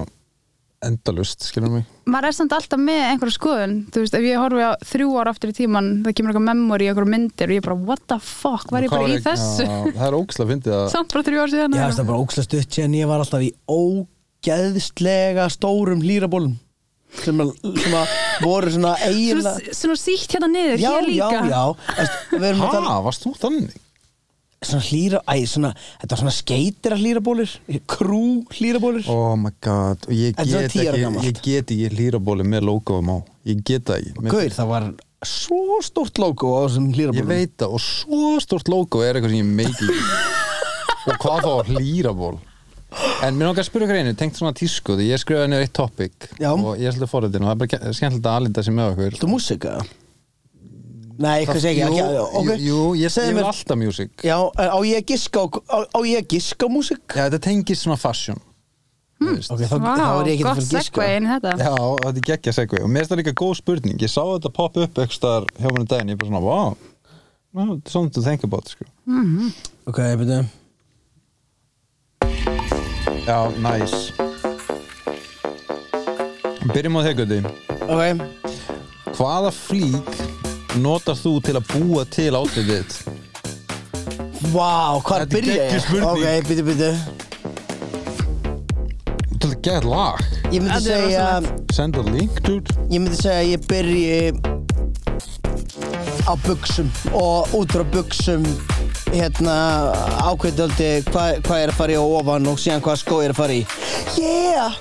S4: endalust, skilur mig
S3: maður er samt alltaf með einhverja skoðun þú veist, ef ég horfi á þrjú ár aftur í tíman það kemur eitthvað memory, eitthvað myndir og ég er bara, what the fuck, var ég
S4: Hvað
S3: bara í
S4: ekki-
S3: þessu
S4: Já, það er ógislega fyndið að
S3: *laughs* samt bara þrjú ár síðan
S2: Já, það er bara ókslega stutt síðan ég var alltaf í ógeðslega stórum hlýrabólum sem, að- sem að voru
S3: *laughs*
S2: svona eiginlega
S3: svona, svona sítt hérna niður,
S2: já,
S3: hér líka
S2: já, já, Æst, við erum að tala um
S4: Hæ, varst þú þannig?
S2: svona hlýra, æ, svona, þetta var svona skeitir að hlýrabólir, krú hlýrabólir
S4: Oh my god, og ég
S2: En þú er
S4: get
S2: tíu ára
S4: ekki
S2: gamall.
S4: ég get ekki hlýrabóli með logoum á ég get það ekki Mér-
S2: Gaur, það var svo stórt logo á þessum
S4: Ég
S2: hlýrabólum
S4: veit það, og svo stort logo er eitthvað sem ég meiki í. og hvað þá hlýraból En mér langar að spyrja ykkur einu, tengt svona tísku því ég skrifaði niður eitt topic
S2: Já.
S4: og ég er svolítið forritin og það er bara ke- skemmtilegt að alita sér með okkur
S2: Þú músika? Nei, hvað segja
S4: Jú,
S2: ekki, já, ok
S4: jú, jú, ég, ég
S2: Segðu
S4: vil
S2: mér-
S4: alltaf music
S2: Já, á ég að giska á, á, á ég að giska á músik?
S4: Já, þetta tengist svona fashion mm.
S2: Hmm. Ok, þá,
S3: Vá,
S2: þá er ég ekki að
S3: gott
S2: fara að giska
S3: segvei inn í þetta
S4: Já, þetta er geggja segvi og mér er þetta líka góð spurning ég sá þetta poppa upp eitthvað staðar hjá mér um daginn ég er bara svona, wow well, it's something to think about sko.
S2: Ok, ég byrja
S4: Já, nice Byrjum á þeggundi
S2: Ok,
S4: Hvaða flík notar þú til að búa til átlið þitt?
S2: Vá, hvar
S4: Þetta er
S2: byrja ég?
S4: geggjuð spurning.
S2: Ok, byrju, byrju
S4: Til að geta lag
S2: Ég myndi
S3: Þetta er
S2: segja
S4: Send a link, dude
S2: Ég myndi segja að ég byrji á buksum og út frá buksum hérna ákveðaldi hvað hva er að fara í á ofan og síðan hvað skó er að fara í Yeah!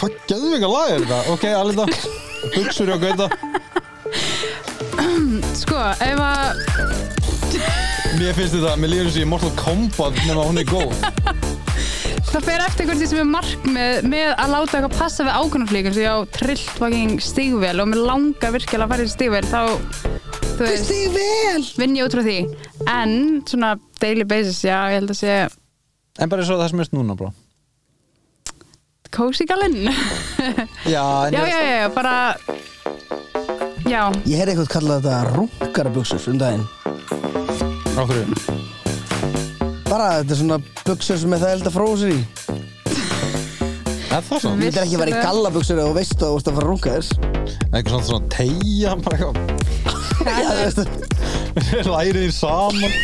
S4: Hvað geðum við ekki að laga þetta? Ok, Alinda, buksur hjá Gauta
S3: Sko, ef að
S4: Mér finnst þetta, mér líður þessi Mortal Kombat nema hún er góð
S3: það fer eftir hvort því sem er markmið með að láta eitthvað passa við ákvörnumflíkum sem ég á trillt fucking stígvél og mér langar virkilega að fara í stígvél þá, þú veist,
S2: Þig vel
S3: vinn ég út frá því en svona daily basis, já, ég held að sé
S4: En bara svo það sem erst núna, brá
S3: cozy *laughs* galinn
S4: Já,
S3: já,
S4: en ég-
S3: já, já, já, bara já,
S2: Ég heyrði eitthvað kallað þetta rungarbuxur um daginn
S4: Á hverju?
S2: Bara þetta er svona buxur sem er það elda fróðsir í
S4: Er það svona?
S2: Þetta er ekki að vera í gallabuxur og veist að þú veist að fara rungar
S4: Eitthvað svona svona *laughs* tegja, bara eitthvað
S2: Já, þú veist
S4: Lærið þín saman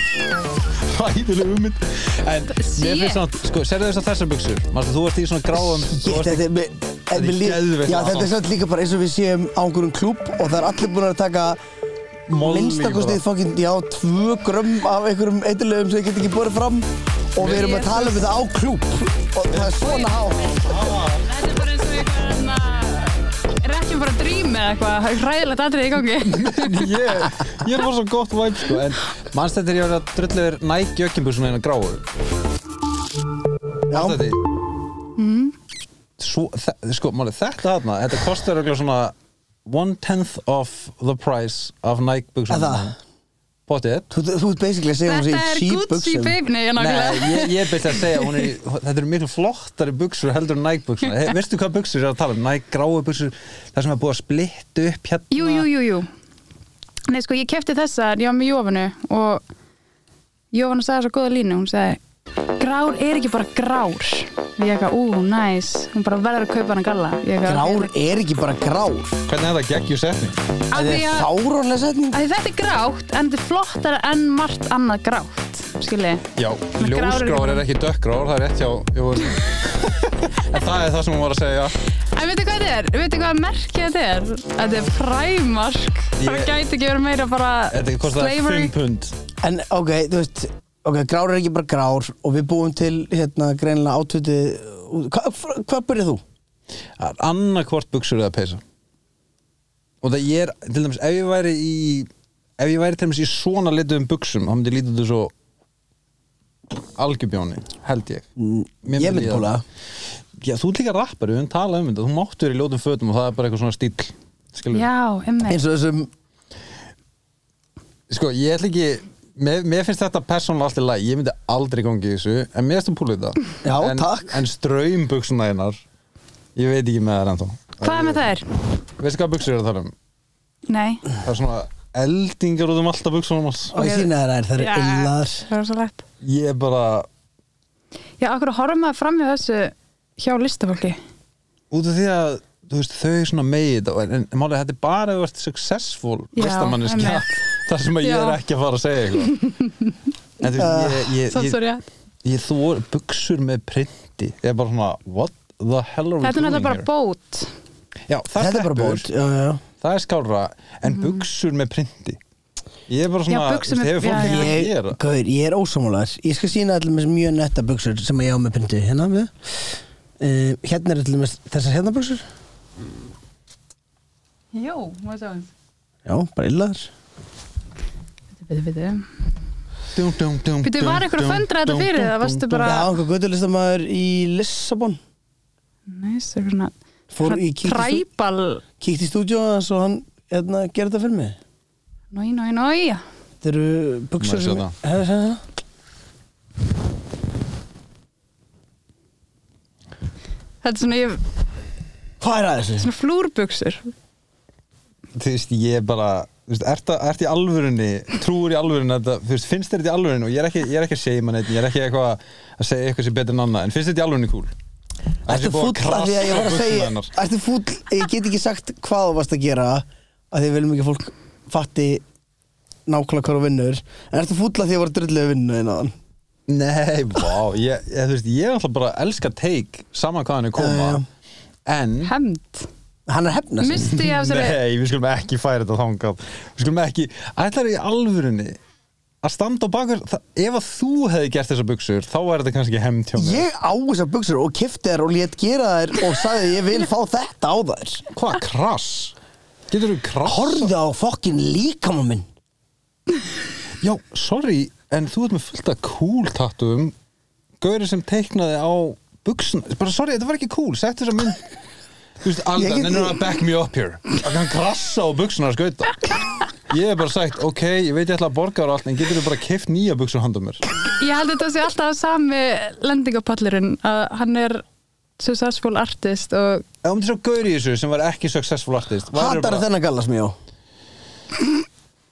S4: Ræðileg ummynd En mér
S3: Shit.
S4: finnst svona, sko, serðu þess að þessar buksur Manstu, þú ert í *laughs* svona gráum þú
S2: Ég,
S4: ert
S2: þetta er mér- en mér líð-
S4: geðveikt
S2: Já, þetta er
S4: ástand.
S2: samt líka bara eins og við séum á einhverjum klúb og það er allir búin að taka
S4: í málningu
S2: minnstakostið
S4: bara.
S2: fokkin, já, tvö grömm af einhverjum eiturlegum sem þið get ekki borðið fram og við erum að tala um þetta á klúb og það er svona há
S3: þetta er bara eins og eitthvað hérna rekjum bara drým eða eitthvað hræðilegt atrið í gangi
S4: *laughs* ég, ég er bara svo gott væp sko, en mannst þetta er ég var að drullu verið Nike jökkjumbuxuna eina gráu
S2: Já,
S4: þetta er Svo, þe- sko, máli, þetta þarna, þetta kostar örugglega svona one tenth of the price of Nike
S2: Er
S4: buxuna
S2: það?
S4: Pottið
S2: þú þú ert basically að segja hún
S3: þetta
S2: segir
S3: er
S2: cheap
S3: Gucci
S2: buxum
S3: baby, já,
S4: Nei,
S3: nákvæmlega
S4: ég, ég byrja að segja hún er, í- þetta eru miklu flottari buksur heldur en Nike buksur hey, veistu hvað buksur er að tala um, Nike gráu buksur það sem er búið að splitta upp hérna
S3: Jú, jú, jú, jú. Nei, sko, ég kefti þessa, ég var með Jófanu og Jófana sagði svo góða línu, hún sagði Grár er ekki bara grár. Og Ég eitthvað, ú, næs, hún bara verður að kaupa hann galla. Ég eitthvað,
S2: Grár
S3: ok,
S2: er ekki bara grár
S4: hvernig er þetta geggjú setning?
S3: Af
S2: Það
S3: því
S2: er
S3: að,
S2: fárónlega setning
S3: að þetta er grátt, en þetta er flottara en margt annað grátt, skilji.
S4: Já,
S3: Grár er-
S4: ljósgráður er ekki dökkgráður, það er rétt hjá Jóhann.
S3: *laughs*
S4: En það er það sem hún var að segja
S3: En veitu hvað þetta er? Veitu hvað merkið þetta er? Þetta er Primark. Það
S4: Ég-
S3: gæti ekki verið meira bara
S4: Þetta kostaði 5 pund
S2: En ok, þú veist, ok, grár er ekki bara grár og við búum til hérna greinilega átutið Hva, hva- Hvað byrjið þú?
S4: Annarkvort buksur eða peysa Og það ég er, til dæmis, ef ég væri í Ef ég væri til dæmis í svona litum buksum þá myndi ég lítið þetta svo Algjubjóni, held ég Mér
S2: Mm, Ég myndi
S4: líða-
S2: búla
S4: Já, þú ert líka rappari, við höfum talað um þetta Þú máttu verið í ljótum fötum og það er bara eitthvað svona stíll Skilur
S3: Já, emmi.
S2: Eins og þessum,
S4: Sko, ég ætla ekki Mér, mér finnst þetta persónulega allt í lagi, ég myndi aldrei gangi í þessu, en mér finnst þú púlið þetta.
S2: Já,
S4: en,
S2: takk.
S4: En ströymbuksuna einar, ég veit ekki með það ennþá.
S3: Hvað með það er?
S4: Veistu hvað buksur eru að tala um?
S3: Nei.
S4: Það er svona eldingar út um alltaf buksunum hans.
S2: og ég sína þær þær eru
S3: Já,
S2: illaðar
S3: Það er svo lægt.
S4: Ég er bara,
S3: Já, okkur horfum maður fram með þessu hjá listafólki.
S4: út af því að, þú veist, þau er svona megið þetta, en, en málega þetta er bara ef þú ert successful
S3: Já,
S4: listamanniska,
S3: einmitt.
S4: *laughs* þar sem að ég er
S3: Já.
S4: ekki að fara að segja eitthvað.
S3: *laughs*
S4: En þú veist, ég, ég,
S3: Samt
S4: ég,
S3: svo
S4: ég,
S3: rétt.
S4: ég þor buksur með printi, ég er bara svona, what the hell are we
S3: Þetta er
S4: doing
S3: náttúrulega
S4: here?
S3: bara bót.
S4: Já, það
S2: Þetta er bara
S4: sleppur.
S2: bót, já, já, já
S4: það er skárra en buksur með printi ég er bara svona,
S3: Mhm. Já, buxur
S4: þú veist,
S3: með-
S4: hefur fólk
S3: já,
S4: ekki
S3: já.
S4: að
S2: Ég,
S4: gera
S2: gaur, ég er ósámálaður Ég skal sína allir með mjög netta buksur sem ég á með pindi hérna við uh, Hérna er allir með þessar hérna buksur
S3: Jó, má ég sjá hans.
S2: Já, bara illaðar
S3: Bitu, bitu.
S4: dum, dum, dum,
S3: Bitu, var
S4: dum,
S3: ykkur að
S4: dum,
S3: föndra þetta
S4: dum,
S3: fyrir
S4: dum,
S3: það?
S4: dum,
S3: Varstu
S4: dum.
S2: Já,
S3: bara,
S2: einhver göttulistamaður í Lissabon
S3: næs, eitthvað svona,
S2: Fór í kíkti, stú,
S3: træbal.
S2: kíkti í stúdíó hans og hann hérna, gerði þetta fyrir mig
S3: Nói, nói, nói.
S2: Þetta eru
S4: Má
S2: buksur
S4: ég sjá
S2: sem
S4: það?
S2: Hefðu séð það?
S3: Þetta er svona, ég,
S2: Hvað er að þessu?
S3: svona flúrbuksur.
S4: þú veist, ég er bara þú veist, ert, að, ert í alvörunni, trúur í alvörunni að þetta, þú veist, finnst þér þetta í alvörunni og ég er ekki, ég er ekki að segja mann einn, ég er ekki eitthvað að segja eitthvað sem er betur en annað, en finnst þér þetta í alvörunni cool Það sé
S2: Ertu
S4: búið að
S2: fúll af því að ég var að
S4: krassa
S2: segja
S4: buxurnar hennar.
S2: Ertu fúll, ég get ekki sagt hvað þú varst að gera að því við viljum ekki að fólk fatti nákvæmlega hvað þú vinnur en ertu fúll af því að ég var að drullu vinnu einan
S4: Nei, vá, ég, ég, þú veist, ég er alltaf bara að elska teik saman hvað hann er koma
S2: Já, já.
S4: en
S3: Hemd.
S2: Hann er að hefna sig
S3: Misti ég af þessari,
S4: Nei, við skulum ekki færa þetta þangað Við skulum ekki, ætlar í alvörunni að standa á bakur það, ef að þú hefði gert þessar buksur þá er þetta kannski hemmt hjá mér
S2: Ég á þessar buksur og kifti þær og lét gera þær og sagði ég vil fá þetta á þær
S4: Hvað, krass? Getur þú krass?
S2: Horfðu á fokkin líkama minn
S4: Já, sorry, en þú ert með fullt af cool tattum Gauri sem teiknaði á buksun Bara sorry, þetta var ekki cool, settu þess að mynd Þú veist,
S2: Ég
S4: Alda,
S2: get-
S4: nennir hann að back me up here Að hann krassa á buksunar skauta Ég hef bara sagt, ok, ég veit ég ætla að borga þér og allt En getur þú bara keift nýja buksur handa mér
S3: Ég held að þetta sé alltaf sami lendingapallurinn að hann er successful artist og
S4: Ef um þess að Gauri í þessu sem var ekki successful artist værirðu
S2: Hattar þennan gallas mjó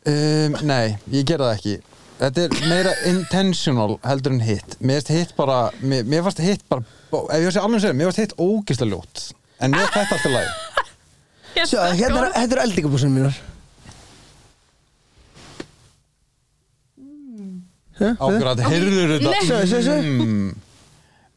S4: Um, nei, ég gera það ekki Þetta er meira intentional heldur en hitt Mér finnst hitt bara Mér, mér fannst hitt bara Ef ég sé alveg sér, mér fannst hitt ógislega ljótt En mér fannst þetta alltaf læg
S3: Yes,
S2: Sjá,
S3: that's
S2: hérna
S3: good.
S2: er- þetta eru eldingabúsunum mínar
S4: Ákvært, heyrður þetta
S2: Sjá, sjá, sjá
S4: mm,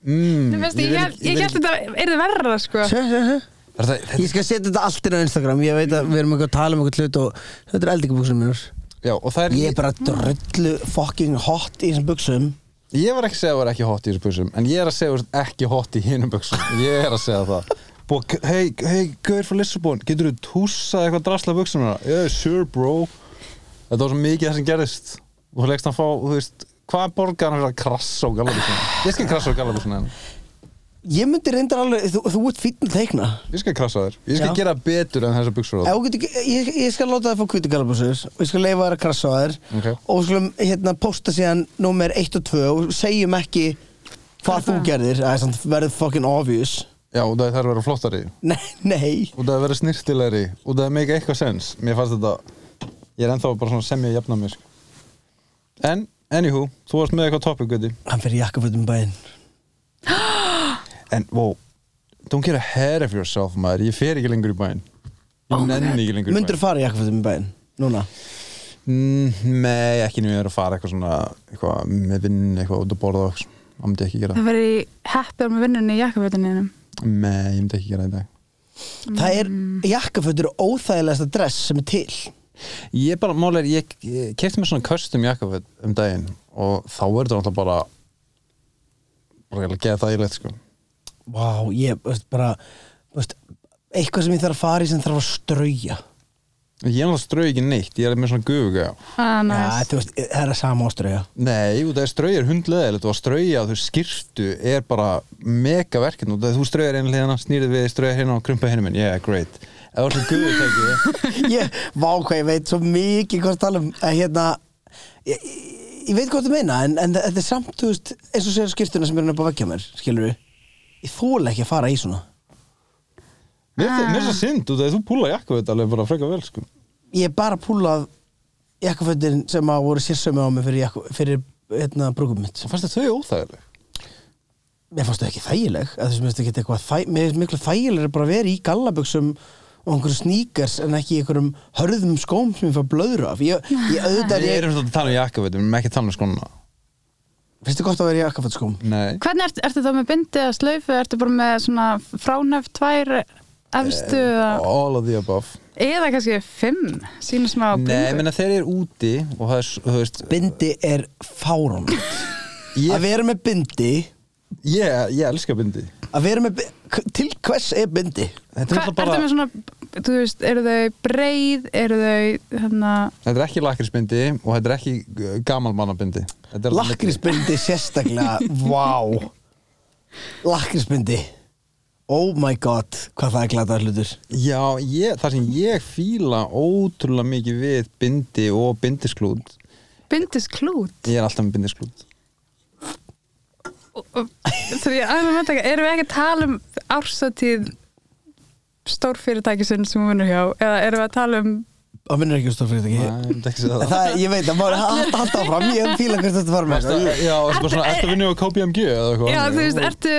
S3: Mér finnst-
S4: vil
S3: Ég
S4: ekki-
S3: held- ég
S4: vil
S3: held
S4: ekki-
S3: þetta er þið verra sko
S2: Sjá, sjá, sjá
S4: Er það- þetta-
S2: Ég skal setja þetta allt inn á Instagram Ég veit að við erum eitthvað að tala um eitthvað hlut og þetta eru eldingabúsunum mínar
S4: Já, og það er
S2: Ég er bara drullu fokking hot í þessum buksum
S4: Ég var ekki að segja að það er ekki hot í þessu buksum En ég er að segja að það er ekki hot í hinum buksum Ég er að segja það Búið, að- Hei, hei, Gaur frá Lissabon Getur þú tússað eitthvað drasla buksum Yeah, sure bro Þetta var svo mikið það sem gerðist Þú leggst hann fá, þú veist Hvað borgar hann fyrir að krassa á gallabúsuna? Ég skal krassa á gallabúsuna hennar
S2: Ég myndi reyndar alveg, þú, þú ert fínn teikna
S4: Ég skal krassa á þér Ég skal
S2: Já.
S4: gera betur en þessar buksur á
S2: Ef
S4: þér
S2: þú getur ekki- ég, ég skal láta það fá kvíti galabúsur og ég skal leifa þær að krassa á þær
S4: Ok.
S2: og við skulum hérna posta síðan númer 1 og 2 og segjum ekki hvað þú gerðir, það er samt verður fucking obvious *laughs*
S4: Já, og það er að vera flottari
S2: Nei, nei
S4: Og það er að vera snirtilegri Og það er meika eitthvað sens Mér fannst þetta Ég er ennþá bara svona að semja jafna mér sko. En, anywho, þú varst með eitthvað topic, Guði
S2: Hann fyrir jakkafötum í bæinn
S4: En, wow, don't get ahead of yourself, maður Ég fer ekki lengur í bæinn Ég nenni ekki lengur í
S2: Myndur þú fara í jakkafötum í bæinn? Núna?
S4: bæinn Mm, Nei, ekki nú ég er að fara eitthvað svona Eitthvað með vinn, eitthvað út að borða og eitthvað Ég myndi ekki gera
S3: Það verið í heppið með vinnunni í jakkafötuninum
S4: Nei, ég myndi ekki gera í dag
S2: Það er, jakkafötur er óþægilegasta dress sem er til
S4: Ég bara, mál er, ég, ég kefti mér svona custom jakkaföt um daginn Og þá er þetta náttúrulega bara Bara eiginlega geða það í leitt, sko
S2: Vá, ég, veist, bara veist, eitthvað sem ég þarf að fara í sem þarf að strauja
S4: Ég er náttúrulega strau ekki neitt, ég er með svona gufuga
S3: ah,
S2: Já,
S3: nice.
S2: þú veist, það er að sama á strauja
S4: Nei, út af því strauja er hundleðilegt og að strauja þau skirtu er bara mega verkefn út af því þú straujar einu hliðina, snýrið við, straujar hérna og krumpa hérna minn, yeah, great eða var svo eh. guðu tekið
S2: Ég, vá hvað, ég veit svo mikið hvað það tala um að hérna ég, ég- ég veit hvað þú meina, en, en þetta er samt þú veist, eins og segir skiptuna sem er hann upp á veggja mér skilur við, ég þóla ekki að fara í svona
S4: Mér finnst- mér er svo synd út af því þú púla jakku þetta alveg bara frekar vel sko
S2: ég er bara púlað jakkafötin sem að voru sérsömi á mig fyrir, jakku, fyrir hérna, brúkum mitt
S4: Svo fannst þér þau óþægileg
S2: mér fannst það ekki þægileg að þessum finnst ekki eitthvað þæ, mér finnst miklu þægileg að bara vera í gallaböksum og einhverjum sníkars en ekki í einhverjum hörðum skóm sem ég fæ blöðru af ég, ég auðvitað,
S4: Við
S2: ég,
S4: erum svolítið að tala um jakku við erum ekki að tala um skona
S2: finnst þið gott að vera í jakkaföt skóm
S4: Nei,
S3: Hvernig ertu, ertu þá með bindi eða slaufu ertu bara með svona fránef tvær efstu
S4: Eh,
S3: eða-
S4: all of the above
S3: eða kannski fimm sínum smá
S4: Nei, menna þeir eru úti og það er, s- þú veist
S2: bindi er fárán að
S4: *laughs* ég,
S2: vera með bindi
S4: ég, ég elska bindi
S2: að vera með, bi- til hvers er bindi
S4: Þetta
S3: Hva,
S4: er, náttúrulega
S3: ertu með
S4: bara,
S3: svona, þú veist, eru þau breið, eru þau hérna,
S4: þetta er ekki lakrisbindi og þetta er ekki uh, gamalmannabindi Þetta er þarna milli.
S2: lakrísbindi sérstaklega vá
S4: *laughs*
S2: lakrísbindi oh my god, hvað það er glataðar hlutur
S4: Já, ég, það sem ég fíla ótrúlega mikið við bindi og bindisklút
S3: bindisklút
S4: Ég er alltaf með bindisklút
S3: Svo ég aðeins að með taka, erum við ekki að tala um ársatíð stórfyrirtækisinn sem hún vinnur hjá eða erum við að tala um
S2: það minnur ekki um stórfyrirtæki
S4: Nei, ég myndi ekki segja
S2: En
S4: það.
S2: Það, ég veit, það var alltaf áfram, ég fíla sko. hvert þetta var með
S4: Varstu- Já, það er bara
S3: Ertu-
S4: svona, ertu að vinna á KPMG eða eitthvað
S3: Já, þú veist, ertu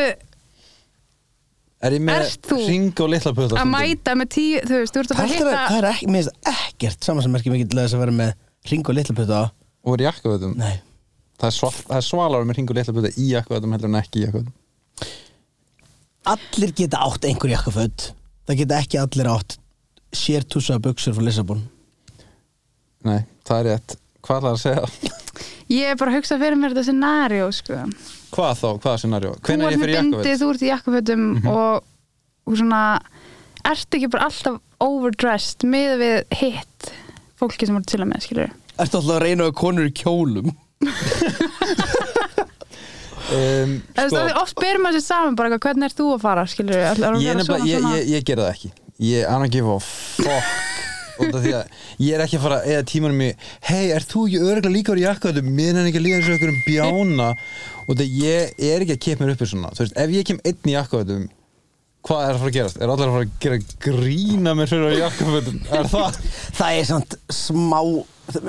S4: Er ég með
S3: ert þú
S4: ring og litla pöða
S3: að mæta með tíu, þú veist, þú ert að
S2: Það
S3: bara
S2: er, það
S3: hitta
S2: er ekki, mér finnst ekkert saman sem merkið mikið til þess að vera með ring og litla putta á
S4: Og er í jakkavöðum
S2: Nei,
S4: Það er, sval, það er svalar með ring og litla pöða í jakkavöðum heldur en ekki í jakkavöðum
S2: allir geta átt einhver jakkaföld Það geta ekki allir átt sér túsa buksur frá Lissabon
S4: Nei, það er rétt Hvað er það að segja? *laughs*
S3: Ég er bara að hugsa fyrir mér þetta scenario sko.
S4: Hvað þá, hvaða scenario?
S3: Þú
S4: Hvenær
S3: ert
S4: ég
S3: með
S4: fyrir
S3: bindið,
S4: jakkavöld?
S3: þú ert í jakkafötum
S4: Mhm.
S3: og, og svona ert ekki bara alltaf overdressed með við hitt fólki sem voru til að með skilur
S2: Ertu alltaf að reyna að konur í kjólum?
S4: Um,
S3: sko, oft berum maður sér saman bara eitthvað, hvernig er þú að fara skilur
S4: ég, nefnilega, ég, ég, ég gera það ekki ég I don't give a
S2: *laughs*
S4: fuck út af því að ég er ekki að fara eða tímanum í hei, er þú ekki örgulega líka úr jakkaðum minn en ekki að líka eins og ykkur um bjána og það ég er ekki að kepp mér upp í svona þú veist, ef ég kem einn í jakkaðum hvað er að fara að gerast? er allir að fara að gera grína mér fyrir á jakkaðum er
S2: *laughs*
S4: það?
S2: Það er samt smá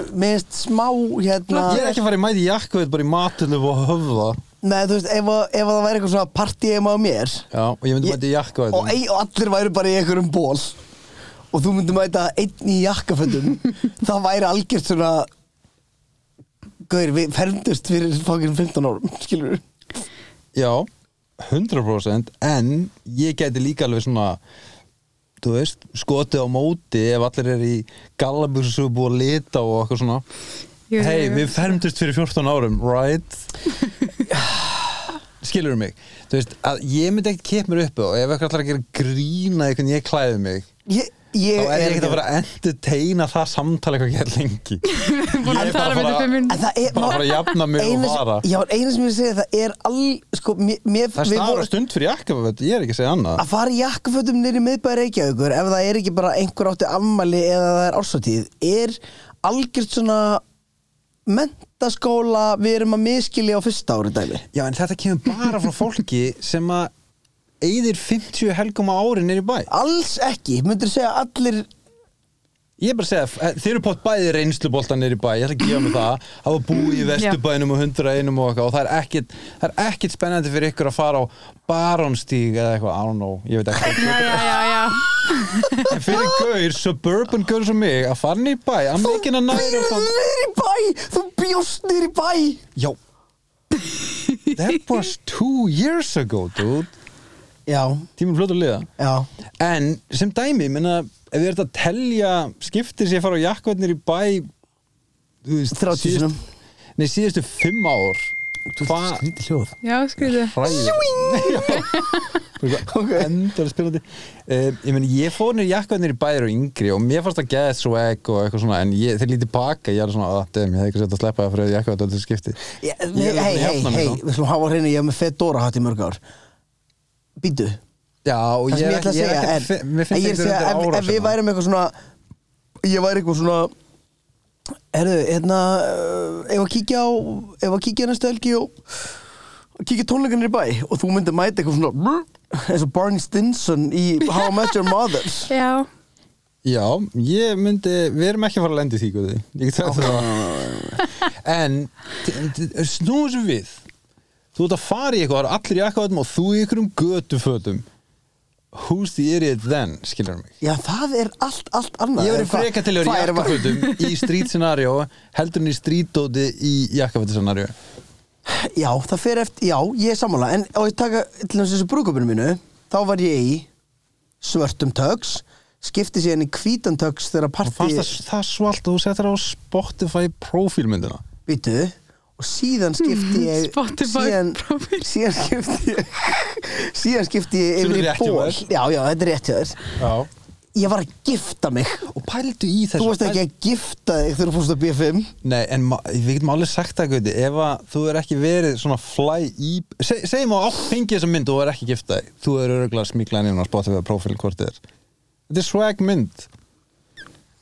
S2: minnst smá hérna
S4: ég er ekki að fara í mæti jakkaðum bara í matilum og höfða
S2: Nei, þú veist, ef, að- ef að það væri eitthvað svona partíeima á mér
S4: Já, og ég myndi
S2: Ég-
S4: mæti í
S2: og,
S4: jakkaðum
S2: ei, og allir væri bara í einhverjum ból og þú myndi mæta einn í
S4: *laughs*
S2: jakkafötum það væri algjört svona Gauður, við fermdust fyrir fangin 15 árum, *laughs* skilur við
S4: Já, 100% en ég geti líka alveg svona þú veist, skotið á móti ef allir er í gallabús sem er búið að lita og eitthvað svona hei, við fermdust fyrir 14 árum,
S2: *laughs*
S4: right? skilur mig þú veist, að ég myndi ekkert kepp mér upp og ef eitthvað allar að gera grína í hvernig ég klæði mig
S2: Ég, ég
S4: þá er ég ekkert að fara að entertaina það samtala eitthvað ekki
S2: *laughs*
S4: lengi
S3: búin
S4: ég
S3: að
S4: er
S2: um
S3: tala
S4: bara að
S3: með
S4: fara-
S3: þetta minn
S2: En það er
S4: bara
S2: má-
S4: að fara að jafna mig og
S2: eina sem-
S4: fara
S2: Já, eina sem ég segi það er all sko, mér, mér,
S4: það er
S2: við
S4: stafra
S2: vorum-
S4: stund fyrir jakka ég er ekki að segja annað
S2: að fara í jakkafötum nýri miðbæði Reykjavíkur ef það er ekki bara einhver átti ammali eða það er ársatíð er algjört svona mentaskóla við erum að miskilja á fyrsta ári dæmi
S4: Já, en þetta kemur bara frá fólki sem að eyðir 50 helgum á ári nýri bæ.
S2: alls ekki, myndir segja að allir
S4: Ég er bara að segja, eh, þið eru pott bæði reynslubolta nýri bæ, ég ætla að gefa mig það, hafa búið í vesturbænum og hundraðinum og eitthvað og það er ekkit, það er ekkit spennandi fyrir ykkur að fara á baronstíg eða eitthvað, I don't know, ég veit ekki.
S3: Já, já, já, já
S4: En fyrir gaur, suburban gaur sem mig, að fara nýri bæ, að mikina næra
S2: býrð
S4: það.
S2: nýri bæ, þú bjóst nýri bæ
S4: Já. That was two years ago, dude.
S2: já,
S4: Tíminn fljótt að liða.
S2: já
S4: En sem dæmi, minna, ef við erum að telja skiptir sem ég fara á jakkvöldnir í bæ þú veist,
S2: 30
S4: síðust-
S2: sinnum.
S4: Nei, síðustu fimm ár Hvað?
S2: skrítið hljóð
S3: Já, skriðu
S4: Svíng!
S2: *laughs*
S4: Endar spilandi uh, Ég meni, ég fór nýr jakkvöldnir í bæ og yngri og mér fannst það get swag og eitthvað svona en ég, þeir lítið baka, ég er svona að dem, ég hefði ekki sett að sleppa það fyrir jakkvöld til skipti
S2: hei,
S4: Ég er alveg
S2: hei,
S4: að
S2: hei,
S4: jafna mig
S2: hei,
S4: þá.
S2: við slum hafa á hreinu ég hef með fedora hatt í mörg ár býtu
S4: Já, og
S2: það
S4: ég,
S2: sem ég ætla að segja
S4: ekki-
S2: er,
S4: fi- mér
S2: en
S4: finnst
S2: ég er að
S4: einhver
S2: segja,
S4: undir
S2: ef,
S4: ára
S2: ef við værum eitthvað svona ég væri eitthvað svona herðu, hérna uh, ef að kíkja á, ef að kíkja næstu helgi og og kíkja tónleikanir í bæ og þú myndir mæta eitthvað svona brr, eins og Barney Stinson í
S4: *laughs*
S2: How I Met Your Mother
S3: Já,
S4: Já, ég myndi, við erum ekki að fara að lenda í því guði. Ég get sagt það
S2: *laughs*
S4: En t- t- snúum þessu við Þú ert að fara í eitthvað, það eru allir í akkvæðum og þú í einhverjum götufötum Who's the idiot then, skilur mig
S2: já, það er allt, allt annað
S4: Ég verið
S2: Hvað-
S4: freka til að vera
S2: hvað
S4: í
S2: er maður-
S4: jakkafötum í street scenario heldur en í street dóti í jakkafötum scenario
S2: já, það fer eftir, já, ég er sammála en og ég taka til þess þessu brúkupinu mínu þá var ég í svörtum tögs skipti síðan í hvítan tögs þegar
S4: Og
S2: partí
S4: fannst það, það svalt og þú settir á Spotify profílmyndina
S2: byttu og síðan skipti ég
S3: Spotify
S2: síðan,
S3: profil.
S2: síðan skipti ég *laughs* síðan skipti ég
S4: Sem
S2: yfir
S4: er
S2: í
S4: rétt hjá
S2: ból
S4: þér.
S2: já, já, þetta er rétt hjá þér
S4: Já
S2: ég var að gifta mig
S4: Og pældu í þessu
S2: þú varst ekki að gifta þig þegar þú fórst að B5
S4: Nei, en ma- við getum alveg sagt það, Gauti, ef að þú er ekki verið svona fly í... Se, segjum að átt fengi þessa mynd og þú er ekki gift þig. Þú er öruglega smíklaðin inn á Spotify profil hvort þið er. Þetta er swag mynd.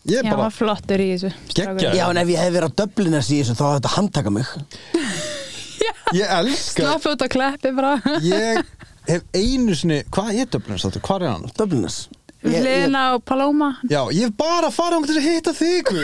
S4: Ég er
S3: já,
S4: bara...
S3: var flottur í þessu
S4: Geggjaður.
S2: já, en ef ég hef verið að döblina sig í þessu þá hafði þetta handtaka mig
S4: Ég elska...
S3: Slappa út að kleppi bara
S4: Ég hef einu sinni... Hvað er Dublin sáttu? Hvað er hann?
S2: döblinas
S3: Lina og Paloma
S4: Já, ég hef bara farið án til þess að hitta þig, Guð.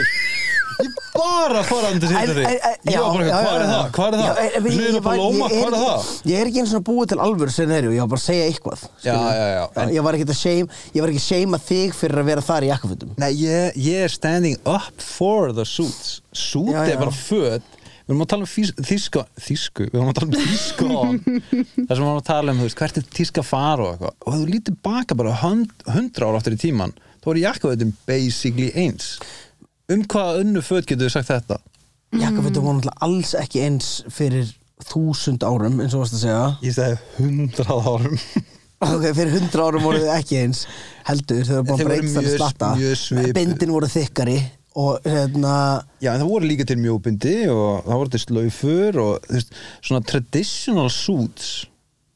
S4: Ég hef bara farið án til þess að hitta þig. Ég var bara, hvað er það? Hvað er það? Hlýðin upp á Lóma, hvað er það?
S2: Ég er ekki eins og búið til alvöru scenario, ég var bara að segja eitthvað skilurðu.
S4: já, já, en-
S2: Ég var ekki að shame, ég var ekki að shame þig fyrir að vera þar í jakkafutum
S4: Nei, ég, ég er standing up for the suits Suit
S2: Já, já.
S4: er bara föt Við erum að tala um fís- þýska Þýsku, við erum að tala um þýsku on *laughs* Það sem við erum að tala um, þú veist, hvert er þýska fara og eitthvað Og ef þú lítið baka bara hund, hundra ára áttur í tíman Þá er jakkaðutum basically eins Um hvaða önnu föt getur við sagt þetta?
S3: Mm.
S2: Jakkafutum voru náttúrulega alls ekki eins fyrir þúsund árum eins og varst að segja
S4: Ég sagði hundrað árum
S2: ok, fyrir hundra árum voru þau ekki eins heldur, þau voru bara
S4: Þeir voru
S2: breytst þannig
S4: mjög-
S2: slatta
S4: mjög svipuð.
S2: bindin voru þykkari og hérna
S4: *laughs* Já, en það voru líka til mjóbindi og það voru til slaufur og þú veist, svona traditional suits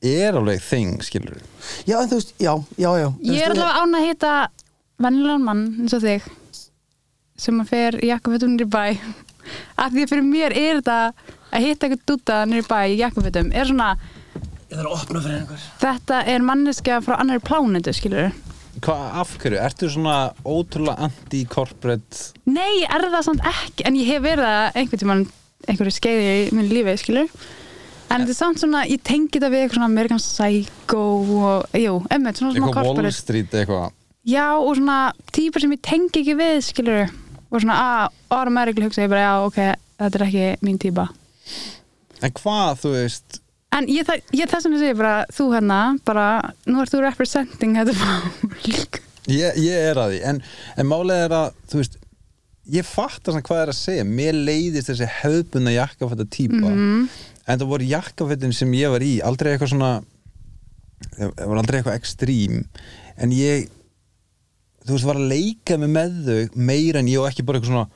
S4: er alveg þing, skilur
S2: já, en þú veist, já, já, já Þú
S3: Ég
S2: veist,
S3: er allavega án að hitta vennilegan mann eins og þig sem að fer í jakkafötum nýri bæ *laughs* af því að fyrir mér er þetta að hitta eitthvað dúta nýri bæ í jakkafötum er svona,
S2: ég þarf að opna fyrir einhver
S3: þetta er manneskja frá annari plánetu, skilur
S4: Hvað, af hverju? Ertu svona ótrúlega anti-corporate
S3: Nei, er það samt ekki en ég hef verið það einhvern tímann einhverju skeiði í minni lífi, skilur en þetta er samt svona, ég tengi þetta við eitthvað svona American Psycho og, jú, emmitt, svona svona
S4: eitthvað Wall
S3: corporate
S4: Street eitthvað
S3: Já, og svona típur sem ég tengi ekki við, skilur og svona, að, automatically hugsa ég bara, já, ok þetta er ekki mín típa
S4: En hvað, þú veist
S3: En ég, þa- ég þess vegna segi bara, þú hérna bara, nú ert þú representing þetta fólk
S4: Ég, ég er að því, en, en málið er að þú veist, ég fattar svona hvað er að segja mér leiðist þessi hefðbunna jakkafætta típa
S3: Mhm.
S4: en það voru jakkafættin sem ég var í aldrei eitthvað svona það var aldrei eitthvað ekstrím en ég þú veist, var að leika mig með þau meira en ég og ekki bara eitthvað svona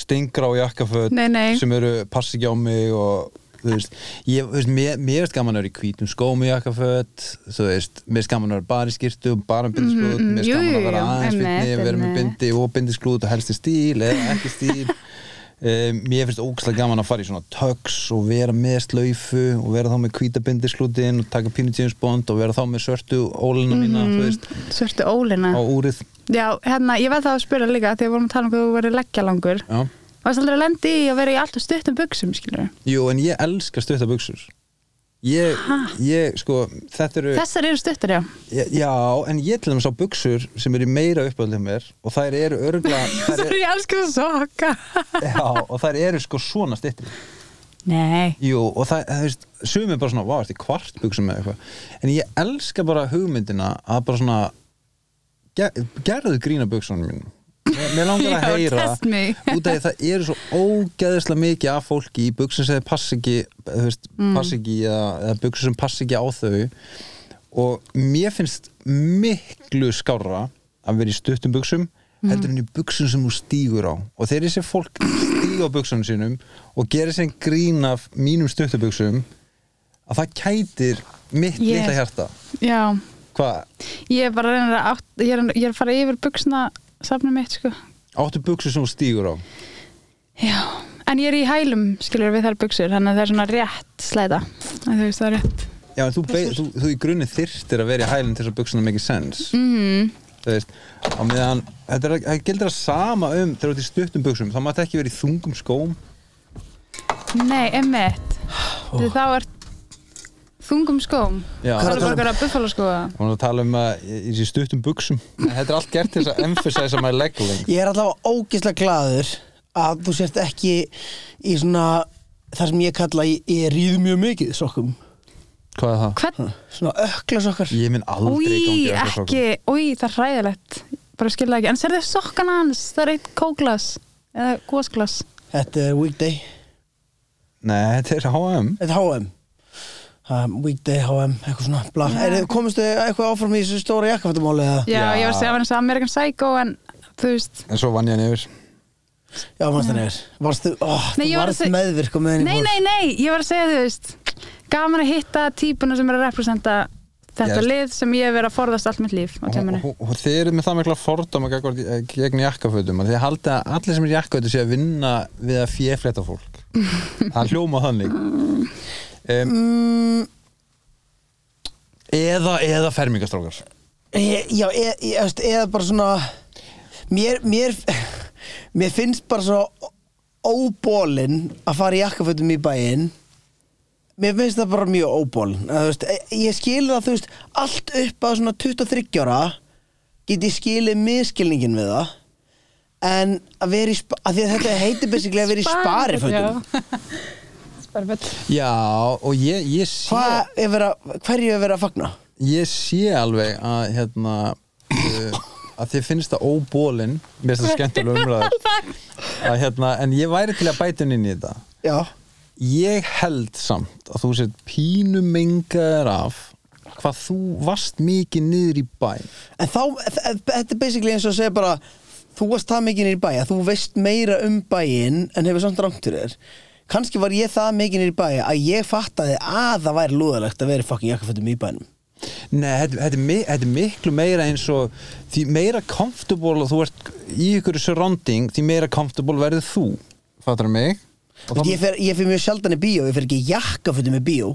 S4: stingra á jakkaföt
S3: Nei, nei.
S4: sem eru passi ekki á mig og þú veist, ég, þú veist mér, mér veist gaman að vera í hvítum skóm í jakkaföt þú veist, mér veist gaman að vera bara í skýrtu bara um bindisklút,
S3: Mhm,
S4: mér
S3: jú,
S4: veist gaman að
S3: jú,
S4: vera
S3: jú,
S4: aðeins
S3: einmitt,
S4: fytni, vera með
S3: einmitt.
S4: bindi bindi og bindisklút og helsti stíl eða ekki stíl
S3: *laughs*
S4: um, ég finnst ógæslega gaman að fara í svona tux og vera með slaufu og vera þá með hvíta bindisklútin og taka pínu James Bond og vera þá með svörtu ólina mína
S3: Mhm.
S4: þú veist,
S3: *laughs* Svörtu ólina
S4: á úrið
S3: Já, hérna, ég verð það að spyrja líka þegar við vorum að tala um hvað þú verið leggja langur
S4: Já.
S3: Varst aldrei að lendi í að vera í alltaf stuttum buksum, skilur
S4: jú en ég elska stuttabuxur ég, ég sko þetta eru
S3: Þessar eru stuttar, já
S4: ég, já en ég til dæmis á buxur sem eru í meira uppáldið mér og þær eru örgla þær
S3: *laughs* Sorry,
S4: er,
S3: ég elsku það soka
S4: já, og þær eru sko svona styttri
S3: *laughs* Nei
S4: Jú, og það, það veist, sumir bara svona, vá, ertu í kvartbuxum eða eitthvað en ég elska bara hugmyndina að bara svona ger, gerðu grína buksunum mínum Mér- Mér
S3: *laughs*
S4: langar að
S3: Já,
S4: heyra
S3: test me.
S4: út af því það eru svo ógeðislega mikið af fólki í buksum sem þeir pass ekki, þú veist,
S3: Mm.
S4: pass ekki eða, eða buksum sem pass ekki á þau og mér finnst miklu skárra að vera í stuttum buksum
S3: Mm.
S4: heldur en í buksum sem þú stígur á og þegar ég sé fólk stíga á buksunum sínum og gera sér grín af mínum stuttum buksum að það kætir mitt
S3: Ég-
S4: litla hjarta
S3: Já,
S4: hvað,
S3: ég er bara að reyna að átt, ég, er, ég er að fara yfir buksna safna mitt, sko
S4: áttu buksu sem þú stígur á
S3: Já, en ég er í hælum, skilur við þær buksur þannig að það er svona rétt slæta Að Þú veist, það er rétt
S4: Já, en þú, be, þú, þú í grunni þyrftir að vera í hælinn til þess að buksuna mikið sens mm. Þú veist, á meðan þetta er, það gildir að sama um þegar þú ert í stuttum buksum, þá mátt ekki verið í þungum skóm
S3: Nei, emmitt oh. Þá er þungum skóm
S4: Já,
S3: Það er
S4: það
S3: bara að vera buffalo sko. skóa
S4: var að tala um að í í þessi stuttum buksum En Þetta er allt gert til þess að emphasize my leg length
S2: ég er allavega ógislega glaður að þú sért ekki í svona þar sem ég kalla ég, ég rýð mjög mikið sokkum
S4: Hvað er það?
S3: Hvern,
S2: svona ökla sokkar
S4: Ég minn aldrei
S3: Új,
S4: gangi á þessum
S3: ekki, új, það er hræðilegt bara skilða ekki, en sér þau sokkan hans það er eitt kóglas eða gósglas
S2: þetta er weekday,
S4: Nei, þetta er H&M
S2: þetta er HM um, weekday HM, eitthvað svona bla. er þið komistu eitthvað áfram í þessu stóra jakkafattumáli eða?
S3: já,
S4: Já.
S3: ég var að segja að vera eins og American Psycho en þú veist,
S4: En svo vann ég hann yfir
S2: já, mannst það nefnir varstu, ó, þú
S3: Nei, ég var að
S2: varst
S3: seg-
S2: meðvirk og meðin
S3: nei, nei, nei ég var að segja þú veist, gaman að hitta típuna sem er að representa þetta
S4: Yes.
S3: lið sem ég hef verið að forðast allt mitt líf á tjáminu,
S4: og, og, og þeir eru með það mikla fordóma gegn, gegn jakkafötum að þeir halda að allir sem er jakkafötum sé að vinna við að fjefletta fólk það hljóma þannig um, eða, eða fermingastrákar
S2: Ég- Já, ég, ég, ég, veist, eða bara svona mér, mér, mér finnst bara svo óbólin að fara í jakkafötum í bæinn mér finnst það bara mjög óbólin Eða, þú veist, ég- ég skil það, þú veist, allt upp að svona 23 ára get ég skilið miskilningin við það en að vera í spa, að því að þetta heitir basically að vera í sparifötum
S3: *laughs* sparifötum
S4: já og ég, ég sé
S2: hvað er verið að, hverju er verið að fagna?
S4: ég sé alveg að hérna uh, að þið finnst það óbólin mér finnst það
S3: *laughs*
S4: skemmtilega umræður að, hérna, en ég væri til að bæta henni inn í þetta
S2: já,
S4: ég held samt að þú sér pínu mengaður af hvað þú varst mikið niður í bæ
S2: en þá þ- þetta er basically eins og að segja bara þú varst það mikið nýr bæ, að þú veist meira um bæinn en hefur samt rangt fyrir þér kannski var ég það mikið nýr bæ að ég fattaði að það væri lúðalegt að vera í fucking jakkafötum í bænum
S4: Nei, þetta, þetta, er, mi- þetta er miklu meira eins og því meira comfortable og þú ert í ykkur surrounding því meira comfortable verður þú fattar mig Og þá-
S2: ég fer, ég fer mjög sjaldan í bíó, ég fer ekki í jakkafötum í bíó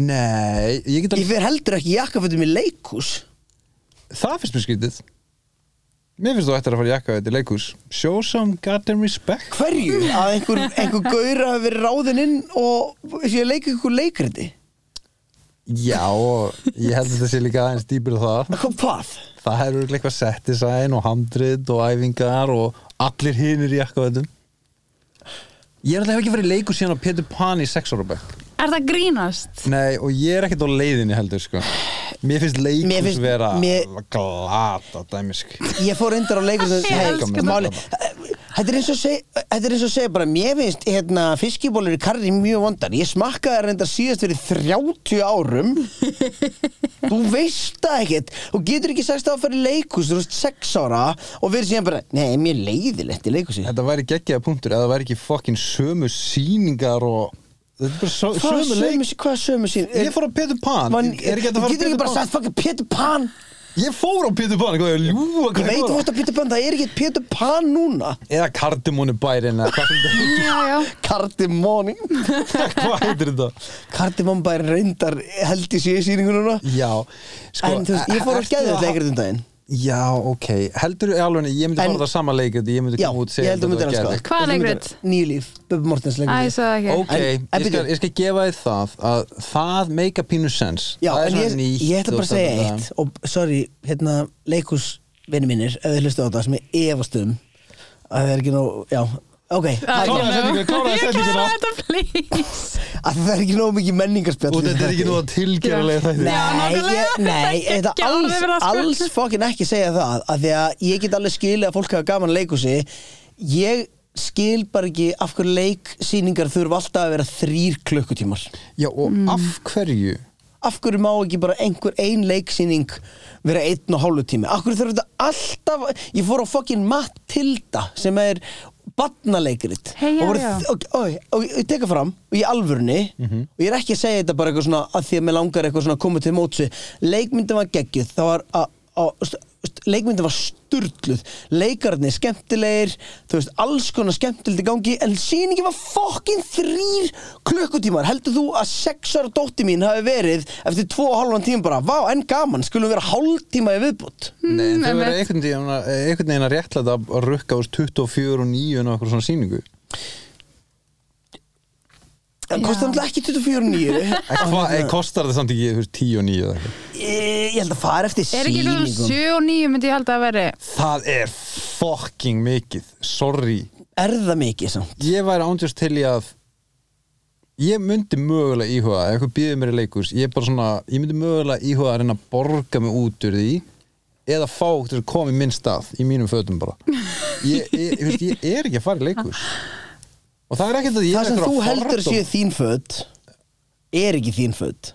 S4: Nei, ég get
S2: ég
S4: alveg
S2: fer heldur ekki í jakkafötum í leikús
S4: það finnst mér skrítið Mér finnst þú ættir að fara í jakka þetta leikús Show some goddamn respect
S2: *laughs* hverju? að einhver, einhver gaur hafi verið ráðinn inn og sé að leika ykkur leikriti
S4: Já, og ég held að þetta sé líka aðeins dýpir en það
S2: Hvað- hvað?
S4: Það er örugglega eitthvað set design og handrit og æfingar og allir hinir í jakka þetta Ég er alltaf ekki farið í leikus síðan á Peter Pan í sex ára bekk
S3: Er það grínast?
S4: Nei, og ég er ekkert á leiðinni heldur, sko Mér finnst leikus
S2: Mér finnst-
S4: vera
S2: mér-
S4: glata dæmi, sko
S2: ég fór reyndar á leikur
S3: Ég elska þetta.
S2: þetta er eins og seg- þetta er eins og segja bara mér finnst hérna, fiskibólur í karri mjög vondar ég smakkaði þær reyndar síðast fyrir 30 árum þú veist það ekkert og getur ekki sagst að fyrir leikus þú veist 6 ára og verið síðan bara nei, mér er leiðilegt í leikusi
S4: Þetta væri geggjaða punktur eða það væri ekki fokkin sömu sýningar og Þetta er bara sö-
S2: hvað
S4: sömu leik
S2: hvað sömu sín
S4: Ég fór á Peter Pan
S2: Man,
S4: Er ekki hægt
S2: þú
S4: að fara á
S2: getur ekki
S4: Peter
S2: bara
S4: Pan
S2: sagt fucking Peter Pan
S4: Ég fór á Peter Pan, hvað er ljúa hvað
S2: Ég veit þú
S4: var?
S2: vorst að Peter Pan, það er ekki Peter Pan núna
S4: Eða kardimónu bærin eða hvað sem þetta-
S3: Já, já.
S2: Kardimóni
S4: *laughs* Hvað heitir þetta?
S2: Kardimón bæri reyndar held í síðu sýningu núna
S4: Já, sko
S2: En þú veist, ég fór á
S4: ertu
S2: skeðið
S4: að-
S2: leikrið um daginn
S4: Já, ok, heldur þú alveg Ég myndi
S2: En-
S4: fara á það sama leikrið Ég myndi
S2: Já,
S4: koma út og
S2: ég
S4: segja
S2: held að
S4: þetta
S2: myndir
S4: var
S2: elska
S4: geðveikt.
S2: það.
S3: Hvað
S2: Þú myndir-
S3: leikrit?
S2: Nýlíf, Bubbi Mortens
S3: Æ,
S2: leikrit
S3: það ekki.
S4: Ok,
S2: En-
S4: ég,
S2: en
S4: skal,
S2: byrju.
S4: ég skal gefa þið það að það make a pínu sens
S2: Já,
S4: það er
S2: en
S4: svona
S2: ég,
S4: nýtt
S2: ég ætla
S4: og
S2: bara að segja
S4: þetta.
S2: eitt og sorry, hérna, leikhúsvinni mínir ef þið hlustu á þetta sem ég efast um að það er ekki nóg, já, ok að
S4: Kláraðu sendinguna, kláraðu
S3: Ah, Ég
S4: sendinguna.
S3: kláraði þetta, please.
S2: að það er ekki nóg mikið menningarspjall
S4: Og
S2: í
S4: þetta er ekki nú að tilgerðarlega þetta
S3: Já,
S2: Nei,
S3: nákvæmlega.
S2: ég, nei,
S3: Ekki
S2: þetta
S3: alveg
S2: alls,
S3: verið að sko. spyrja.
S2: alls fokkin ekki segja það að því að ég get alveg skil að fólk hafa gaman að leikhúsi ég skil bara ekki af hverju leiksýningar þurfa alltaf að vera þrýr klukkutímar
S4: Já, og
S2: Mm.
S4: af hverju
S2: af hverju má ekki bara einhver ein leiksýning vera einn og hálfu tími af hverju þurfa þetta alltaf ég fór á fokkin Matilda sem er badnaleikrit
S3: Hey, já,
S2: og, voru-
S3: já.
S2: og, og, og, ég teka fram og ég alvörni og ég er ekki að segja þetta bara eitthvað svona að því að mér langar eitthvað svona að koma til mótsi leikmyndin var geggjuð það var að, að st- st- leikmyndin var sturluð leikarnir skemmtilegir þú veist, alls konar skemmtilegt í gangi en sýningin var fokkin þrýr klukkutímar, heldur þú að sex ára dótti mín hafi verið eftir tvo og halvan tíma bara, vá, en gaman, skulum vera hálftíma í viðbútt
S4: Nei, en þau
S3: einmitt.
S4: verður einhvern veginn að- eh, einhvern veginn að réttlæta að rukka úr 24 og 9 og okkur svona sýningu
S2: það
S3: Já.
S2: kostar náttúrulega ekki 24 og 9
S3: *laughs*
S4: En
S2: hérna-
S4: Hvað eh, kostar þetta samt ekki þú veist, 10 og 9 eða eitthvað?
S2: ég held að fara eftir
S3: Er ekki eitthvað
S2: sýningum
S3: 7 og 9 myndi ég halda að veri
S4: Það er fucking mikið Sorry
S2: er það mikið samt
S4: Ég væri ándjast til í að Ég myndi mögulega íhuga ef eitthvað býður mér í leikurs ég, er bara svona, ég myndi mögulega íhuga að reyna að borga mig út úr því eða fá til að koma í minn stað í mínum fötum
S2: *laughs*
S4: bara ég, ég, ég, veist, ég er ekki að fara í leikurs og það er ekkert að ég
S2: það
S4: er
S2: sem
S4: einhver
S2: þú
S4: að
S2: heldur
S4: fordóma.
S2: séu þín föt er ekki þín föt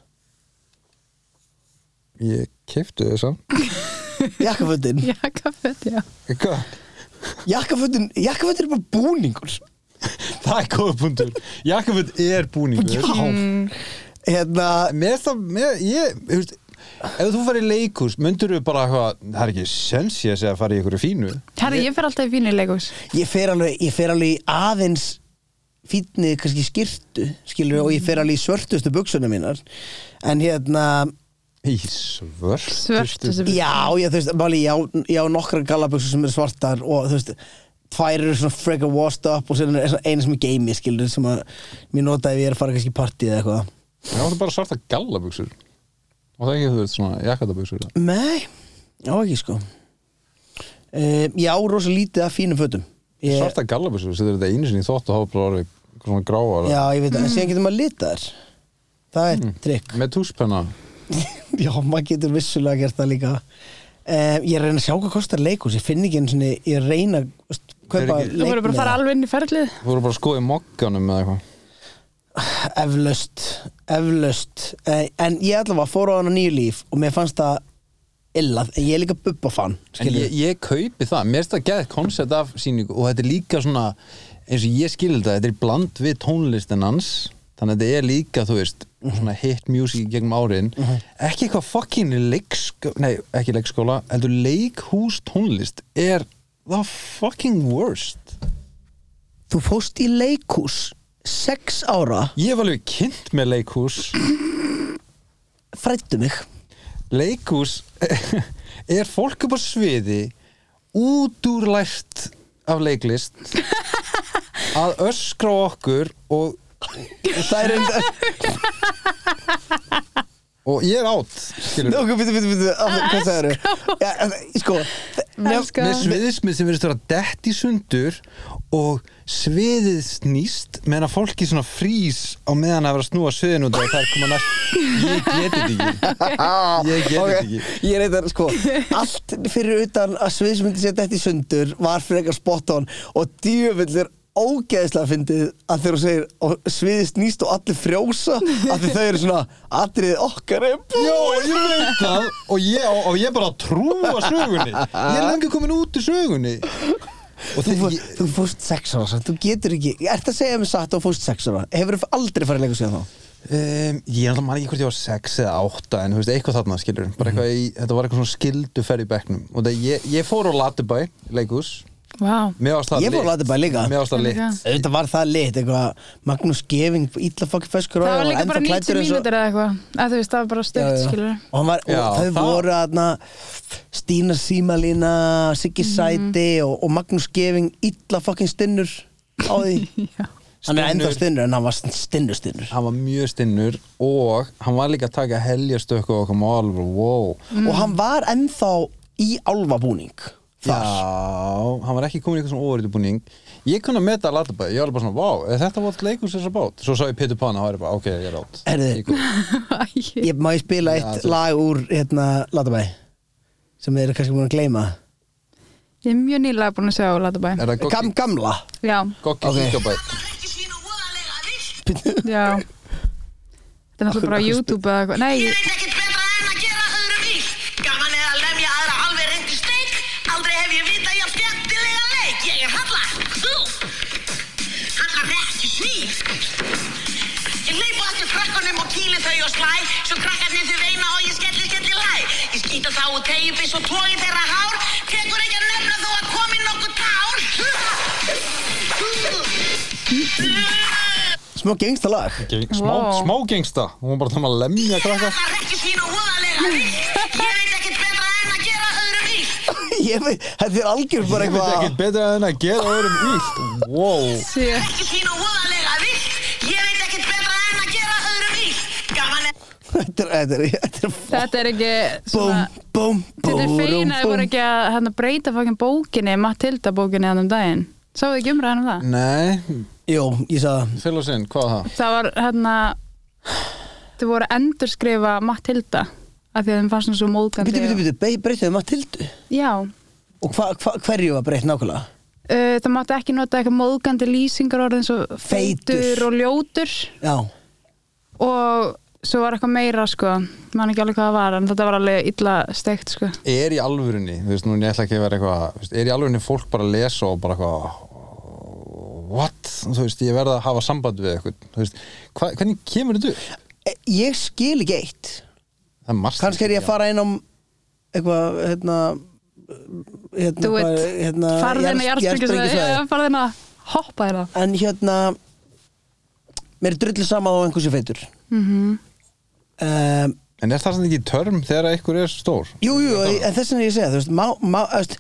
S4: ég keiptu þess að *laughs*
S2: jakkafötin
S3: jakkaföt, já
S2: jakkafötin, jakkafötin er bara búningur
S4: það er góða punktur Jakobut er búningur
S2: hérna,
S4: mér finnst það, mér, ég, þú veist ef þú farið í leikurs, myndur þú bara eitthvað, það er ekki sens ég að segja að fara í einhverju fínu
S3: Herri, ég fer alltaf í fínir leikús
S2: ég fer alveg ég fer alveg í aðeins fínni kannski skirtu skilur, og ég fer alveg í svörtustu buksuna mínar en hérna
S4: í svört
S3: Svörtu sem
S2: já, ég, þú veist, máli, ég, á- ég á nokkra gallabuksu sem eru svartar og þú veist tvær eru svona freka washed up og síðan er svona eina sem er gamey skilur sem að mér nota ef ég er að fara kannski í partí eða eitthvað
S4: Ég áttu bara svarta gallabuxur og það er ekki þú veist svona jakkatabuxur
S2: Nei, já ekki sko uh, Já, rosa lítið af fínum fötum ég,
S4: Svarta gallabuxur, setur þetta einu sinni í þótt og hafa bara orðið eitthvað svona gráar
S2: Já, ég veit það, en síðan getur maður lita þær Það er trikk *laughs*
S4: Mm. með túspenna
S2: Já, maður getur vissulega gert það líka um, ég er að reyna að sjá hvað kostar leikus ég finn ekki einu sinni, ég er að reyna að þú veist, kaupa
S4: ekki-
S3: Þú voru bara að fara alveg inn í ferlið
S4: Þú voru bara að skoða í mokkanum eða eitthvað
S2: eflaust, eflaust Eh, en ég allavega fór á hana nýju líf og mér fannst það illað, en ég er líka bubba fan
S4: En ég, ég kaupi það, mér finnst það geðið koncept af síningu og þetta er líka svona eins og ég skilur þetta, þetta er í bland við tónlistin hans þannig að þetta er líka, þú veist, svona hit music í gegnum árin ekki eitthvað fucking leikskóla nei, ekki leikskóla, heldur leikhús tónlist er the fucking worst
S2: þú fóst í leikus sex ára,
S4: Ég var alveg kynnt með leikhús
S2: frættu mig
S4: leikhús *laughs* er fólk upp á sviði útúrlært af leiklist að öskra á okkur og það er enda og ég er átt skilur
S2: ok, bitu, bitu, bitu, af- hvað það eru ja, en- sko,
S3: Elska.
S4: með sviðismið sem verðist vera dett í sundur og sviðið snýst meðan að fólki svona frýs á meðan að vera að snúa sviðin út og það er koma næst ég geti þetta ekki Ég get þetta ekki.
S2: ég reyndar,
S3: *laughs*
S2: sko allt fyrir utan að sviðsmyndi sér þetta í sundur var frekar spot on og djöfullir ógeðslega fyndið að þegar þú segir og sviðið snýst og allir frjósa að því þau eru svona atriðið okkar er búið
S4: Já, ég veit það og ég, og, og ég bara trúa sögunni Ég er lengi komin út í sögunni Og
S2: Þú,
S4: þegar
S2: fó,
S4: ég
S2: þú fórst sex ára, samt, þú getur ekki Ég ert að segja mér satt að þú fórst sex ára Hefur aldrei farið leikur síðan þá?
S4: um, Ég er alltaf man ekki hvort ég var sex eða átta En þú veist, eitthvað þarna skilur Bara
S2: Mhm.
S4: eitthvað, í, þetta var eitthvað svona skilduferð í bekknum Og það ég, ég fór á Latibæ, leikus
S3: Vá,
S4: Mér varst það
S2: Ég fór á Latabæ líka.
S4: Mér varst það
S3: Líka.
S4: lit
S2: Þetta var það lit, eitthvað Magnús Geving, ítla fokki feskur
S3: það var líka bara 90 mínútur eða eitthvað að þú veist, það var bara
S2: Já,
S3: stutt,
S2: já.
S3: skilur
S2: og, hann var,
S4: Já,
S2: og þau
S4: það-
S2: voru aðna Stína Símalína Siggi
S3: Mhm.
S2: Sæti og, og Magnús Geving illa fucking stinnur á
S3: *laughs*
S2: því hann er enda
S4: Stinnur.
S2: stinnur en hann var stinnur stinnur
S4: Hann var mjög stinnur og hann var líka að taka helgjastökku og koma alveg, wow
S3: Mhm.
S2: og hann var ennþá í álfabúning þar
S4: Já, hann var ekki komin í eitthvað svona óverðubúning Ég kunna að meta Latabæ, ég var alveg bara svona, vá, er þetta var leikus þessa bát Svo sá ég Peter Pan og það er bara, ok, ég er átt
S2: Heyrðu.
S4: Ég kom-
S3: Æi.
S2: ég, má ég spila eitt
S4: þú-
S2: lag úr hérna Latabæ sem þeir eru kannski múin að gleyma
S3: Ég er mjög nýlega búin að sjá Latabæ
S4: Er það
S2: Gam,
S4: Gokki-
S2: gamla *laughs*
S3: Já,
S4: Gokki
S2: Ok.
S4: Kíkabæ
S3: já Þetta er náttúrulega bara á YouTube eða eitthvað Nei,
S7: Ég veit ekkert betra en að gera öðruvís. Gaman er að lemja aðra alveg reynd í steik. Aldrei hef ég vitað jafn skemmtilegan leik. Ég er Halla, þú. Halla Rekki Snýr. Ég hleyp á eftir krakkanum og kýli þau og slæ. Svo krakkarnir þau veina og ég skelli skelli læ. Ég skýta þá og tegjubis og tói þeirra hár. Tekur ekki að nefna þó að komi nokkuð tár.
S2: smá gengsta lag *laughs*
S4: smá,
S3: Vá.
S4: smá gengsta Hún var bara þannig að lemja krakka
S7: Halla Rekki Snýr og voðalega vís. Ég veit ekkert betra en að gera öðruvís.
S2: ég veit, þetta er algjör bara
S4: Ég veit
S2: eitthvað
S4: ekkert betra en að gera öðrum illt Wow
S3: sé
S7: ekki sín og voðalega vilt Ég veit ekkert betra en að gera öðrum illt Gaman er
S2: *laughs* þetta er, þetta er, þetta er
S3: Þetta er ekki svona
S2: búm, búm,
S3: Þetta er
S2: búm,
S3: feina að þið voru ekki að hérna, breyta fokkin bókinni, Matilda bókinni hann um daginn. Sáðu ekki umræðan um
S4: Mm.
S3: það?
S4: Nei,
S2: Jú, ég sagði það
S4: fél og sinn, hvað var það?
S3: Það var hérna, þau voru að endurskrifa Matilda af því að þeim fannst hún svo móðgandi.
S2: Býtu, býtu, býtu, breytið þau Matildu
S3: Já,
S2: Og hva, hva, hverju var breytt nákvæmlega?
S3: uh, það mátti ekki nota eitthvað móðgandi lýsingar orðin svo
S2: Feitur.
S3: feitur og ljótur
S2: Já,
S3: og svo var eitthvað meira sko, man ekki alveg hvað það var en þetta var alveg illa steikt sko.
S4: Er í alvörunni, þú veist, nú ég ætla ekki að vera eitthvað þú veist, Er í alvörunni fólk bara að lesa og bara eitthvað What? Þú veist, ég verða að hafa samband við eitthvað Þú veist, hva, hvernig kemur þetta upp?
S2: E- ég skil ekki eitt
S4: Það er margt
S2: Kannski er ég að fara inn á eitthvað, hérna hérna,
S3: Þú veit,
S2: hvað- hérna
S3: farðin að
S2: jarðs- jarðsprengjusvæði.
S3: jarðsprengisvæði, farðin að hoppa þér það.
S2: En hérna Mér er drullu sama á einhversu feitur mm -hmm. um,
S4: En er það samt ekki törm þegar einhver er stór?
S2: Jú, jú, en þess vegna ég segja, þú veist, má, má þú veist,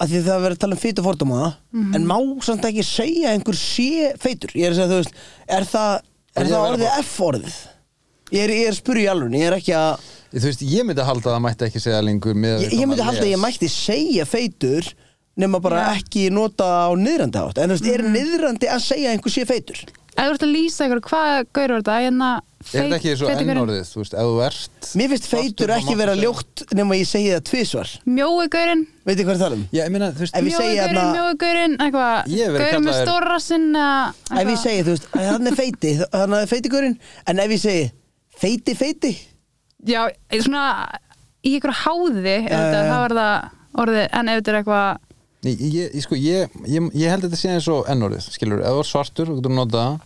S2: að því það verður að tala um feitu fordóma en má samt ekki segja að einhver sé feitur, ég er að segja, þú veist er það,
S4: En
S2: er
S4: ég
S2: það
S4: verð
S2: orðið
S4: bara-
S2: F-orðið ég er, ég er spurði í alveg, ég er ekki að
S4: Þú veist, ég myndi að halda að það mætti ekki segja lengur með
S2: ég, ég myndi halda að ég mætti segja feitur nema bara ekki nota á niðrandi hátt, en þú veist, er niðrandi að segja að einhver sé feitur?
S3: Ef þú ert að lýsa ykkur, hvað gaur var þetta? Hérna
S4: Er þetta ekki svo
S3: feitigurinn.
S4: ennorðið, þú veist, ef þú ert
S2: Mér finnst feitur
S4: svartur,
S2: ekki
S4: þá
S2: vera
S4: máttu segja-
S2: ljótt nema ég segi það tvisvar
S3: Mjói gaurinn
S2: Veitir hvað ég tala um?
S4: Já, ég meina, þú veist,
S2: Ef ég segi
S3: Mjói gaurinn,
S2: hérna
S3: mjói gaurinn eitthvað,
S4: Ég hef verið
S3: Gaurinn með
S4: kallaður-
S3: stóra sinna
S2: Ef ég segi, þú veist, að hann er feiti Hann er feitigurinn En ef ég segi, feiti, feiti
S3: Já, svona í ykkur háði ef þetta,
S2: já.
S3: þá er það orðið en ef þetta er eitthvað
S4: Nei, ég, ég, sko, ég, ég, ég held þetta sé eins og ennorðið, skilur, ef þú ert svartur, þú getur nota það.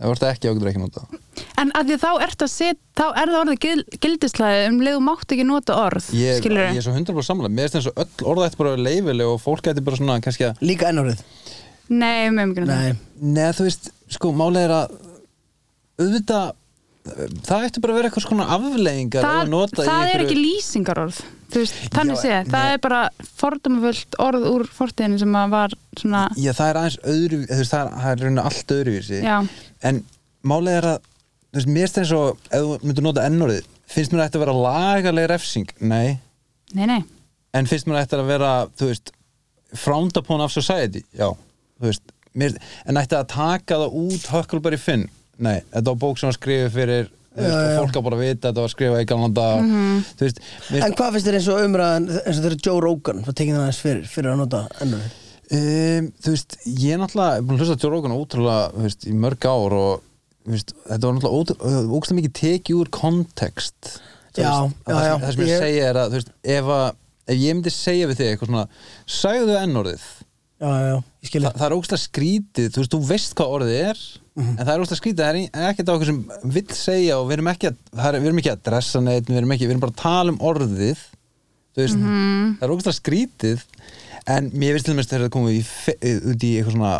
S4: ef þú ert ekki, þú getur ekki nota það.
S3: En að því þá ert að set, þá er það orðið gil, gildislæði um leið og mátt ekki nota orð
S4: Ég,
S3: skilur
S4: ég er svo 100% samlega, mér finnst eins og öll orða þetta bara leifileg og fólk gæti bara svona, kannski að
S2: Líka ennárið
S3: Nei, með mjög
S2: Nei,
S4: Nei, þú veist, sko, málega er að auðvitað það ætti bara að vera eitthvað svona afleggingar
S3: það,
S4: að nota
S3: það
S4: í
S3: er
S4: einhverju-
S3: ekki lýsingarorð þú veist, þannig
S4: Já,
S3: sé, það
S4: nei.
S3: er bara fordumafullt orð úr fortíðinu sem að var svona,
S4: Já, það er aðeins öðru, þú veist, það er, það er raunin allt öðruvísi
S3: Já.
S4: En málega er að, þú veist, mér stæðin svo ef þú myndir nota ennorðið, finnst mér að þetta að vera lagaleg refsing, nei
S3: nei, nei
S4: en finnst mér að þetta að vera, þú veist frowned upon of society, já þú veist, mér, en ætti að taka það út Huckleberry Finn, nei þetta var bók sem var skrifið fyrir þú veist, og fólk að bara vita að þetta var skrifað í galanda mm þú veist, mér,
S2: en hvað finnst þér eins og umræðan eins og þegar Joe Rogan, það tekið það aðeins fyrir fyrir að nota ennárið
S4: Um, þú veist, ég er náttúrulega er búin að hlusta á Joe Rogan ótrúlega þú veist, í mörg ár og þú veist, þetta var náttúrulega ógstlega mikið tekið úr kontekst Þú
S2: Já,
S4: veist,
S2: já,
S4: það, sem-
S2: já.
S4: það sem ég,
S2: Ég-
S4: segja er að þú veist, ef, að, ef ég myndi segja við þig eitthvað svona sagðu ennorðið
S2: Já, já, já, ég skil
S4: Þa,
S2: það
S4: það er ógstlega skrítið, þú veist, þú veist hvað orðið er en það er ógstlega skrítið, það er ekkert á okkur sem vill segja og við erum ekki að, það er, við erum ekki að dressa neitt, við erum ekki, við erum bara að tala um orðið þú veist,
S3: Mhm.
S4: það er ógstlega skrítið en mér finnst til dæmis þegar það komið í fe- eh, út í eitthvað svona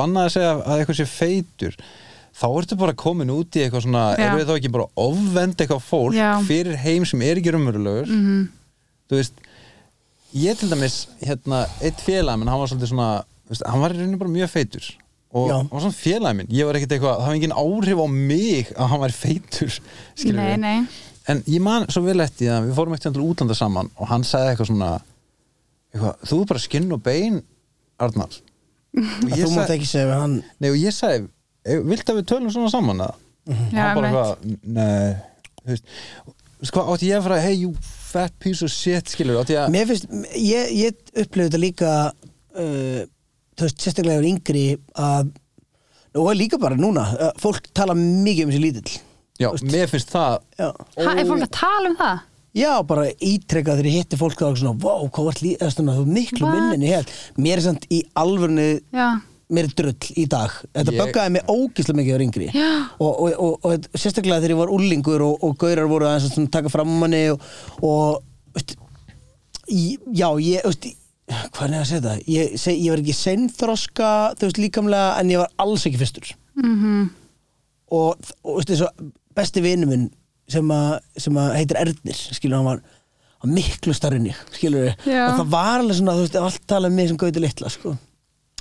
S4: bannað að segja að eitthvað sé feitur þá ertu bara komin út í eitthvað svona
S3: Já.
S4: erum við þá ekki bara að ofvend eitthvað fólk
S3: Já. Mhm.
S4: fyrir heim sem er ekki raunverulegur -hmm. þú veist ég til dæmis, hérna, eitt félag minn, hann var svolítið svona, veist, hann var í rauninu bara mjög feitur og
S2: Já.
S4: hann var svona félag minn ég var ekkert eitthvað, það var engin áhrif á mig að hann var feitur, *laughs* skilur
S3: Nei,
S4: við
S3: nei.
S4: en ég man svo vel eftir að við fórum ekkert til útlanda saman og hann sagði eitthvað svona eitthvað, þú er bara skinn og bein
S2: *laughs*
S4: Arnar og
S2: Þú
S4: ég
S2: mátt
S4: sagði,
S2: ekki segja við hann
S4: nei, og ég sagði "Eh, viltu að við tölum svona saman að
S2: Mhm.
S3: Já,
S4: hann bara
S3: einmitt.
S4: eitthvað, nei þú veist, Þú veist hvað, átti ég að fara hey you fat piece of shit, skilur átti ég að,
S2: Mér finnst, ég, ég upplifði þetta líka uh, þú veist, sérstaklega yfir yngri að og líka bara núna, að fólk tala mikið um sér lítill
S4: já,
S2: Þú veist,
S4: mér finnst það
S2: Já.
S3: ha, er fólk að tala um það?
S2: Já, bara ítrekka þegar ég hitti fólk þá er svona, vá, hvað var líðast þú er miklu
S3: What?
S2: minnin í held Mér er samt í alvörni
S3: Já,
S2: mér er drull í dag Þetta
S4: Ég-
S2: böggaði mig ógislega mikið á yngri
S3: Já.
S2: og, og, og, og, sérstaklega þegar ég var úlingur og, og gaurar voru aðeins að svona taka fram um manni og, og veist, í- já, ég veist, hvernig er að segja það ég, seg, ég var ekki seinþroska þú veist líkamlega en ég var alls ekki fyrstur
S3: Mhm.
S2: og, og veist, svo, besti vinur minn sem, a, sem að heitir Ernir skilur hann var hann var miklu starri en ég skilur
S3: Já.
S2: og það var alveg svona þú veist allt talað um mig sem gauti litla sko.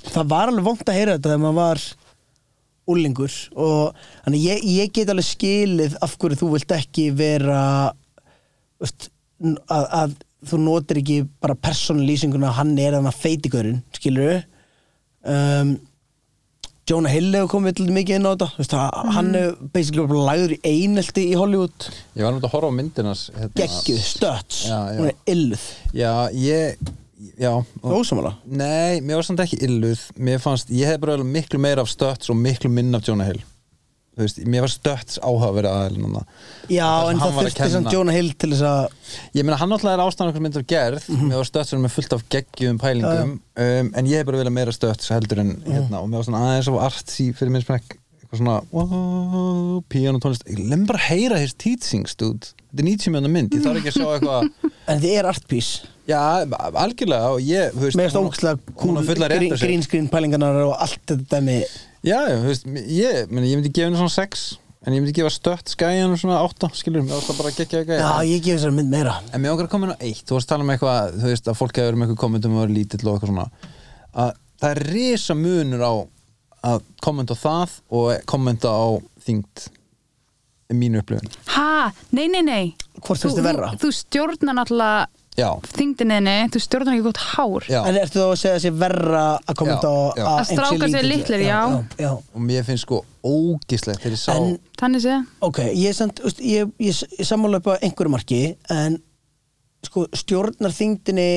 S2: það var alveg vont að heyra þetta þegar maður var úlingur og þannig ég, ég get alveg skilið af hverju þú vilt ekki vera veist, n- að, að þú notir ekki bara persónulýsinguna að hann er þannig að feitigörinn skilur um, Jonah Hill hefur komið til mikið inn á þetta Þú veist, mm.
S4: Mhm.
S2: hann hefur basically bara lagður í einelti í Hollywood
S4: ég var náttúrulega að horfa á myndinans hérna,
S2: geggjuð, stöts,
S4: Já, já.
S2: hún er illuð
S4: Já, ég Já,
S2: Það er ósamála
S4: nei, mér var samt ekki illuð Mér fannst, ég hef bara alveg miklu meira af stötts og miklu minna af Jonah Hill Þú veist, mér var stötts áhuga að vera aðeins núna
S2: Já, en
S4: hann
S2: það
S4: var að
S2: þurfti
S4: kenna.
S2: samt Jonah Hill til þess að
S4: Ég meina, hann náttúrulega er ástæðan okkur mynd af gerð
S2: Mhm.
S4: Mér var stötts með fullt af geggjum pælingum um, En ég hef bara verið meira stötts heldur en hérna Og mér var svona aðeins af artsy fyrir minn smekk Eitthvað svona, wow, píón og tónlist Ég lem bara heyra his teachings, dude Þetta er 90 mjönda mynd, ég þarf ekki að sjá eitthvað
S2: en þið er art piece
S4: Já, algjörlega og ég, þú veist
S2: Mér finnst
S4: hún á-
S2: ógæslega
S4: hún á
S2: cool
S4: fulla rétt á
S2: green,
S4: sér.
S2: green screen pælingarnar og allt þetta dæmi
S4: Já, já, þú veist, ég, meni, ég myndi gefa henni svona 6 en ég myndi gefa stött skæjanum svona 8 skilur, mér ást það bara að gegja
S2: Já,
S4: eitthvað
S2: ég gef þessar mynd meira
S4: en mér ákveður að koma inn á 1, þú varst að tala um eitthvað þú veist, að fólk hefur verið með eitthvað kommentum og verið lítill og eitthvað svona að það er risa munur á að kommenta á það og kommenta á þingt mínu upplifun
S3: ha, nei, nei, nei
S2: Hvort finnst
S3: Þú-
S2: þér verra?
S3: Þú, þú stjórnar náttúrulega
S4: já,
S3: þingdinniðinni, þú stjórnar ekki gott hár
S4: já
S2: En ertu þá að segja að sé verra að koma
S4: Já,
S2: út á
S4: já.
S2: að
S3: Að strákar
S2: einhver sé
S3: séu
S2: lítill?
S3: litlir, já.
S2: já, já.
S4: og mér finnst sko ógislegt þegar ég sá
S2: En-
S3: þannig sé,
S2: Ok, ég er samt, úst, ég, ég, ég sammála upp á einhverju marki en sko stjórnar þingdinni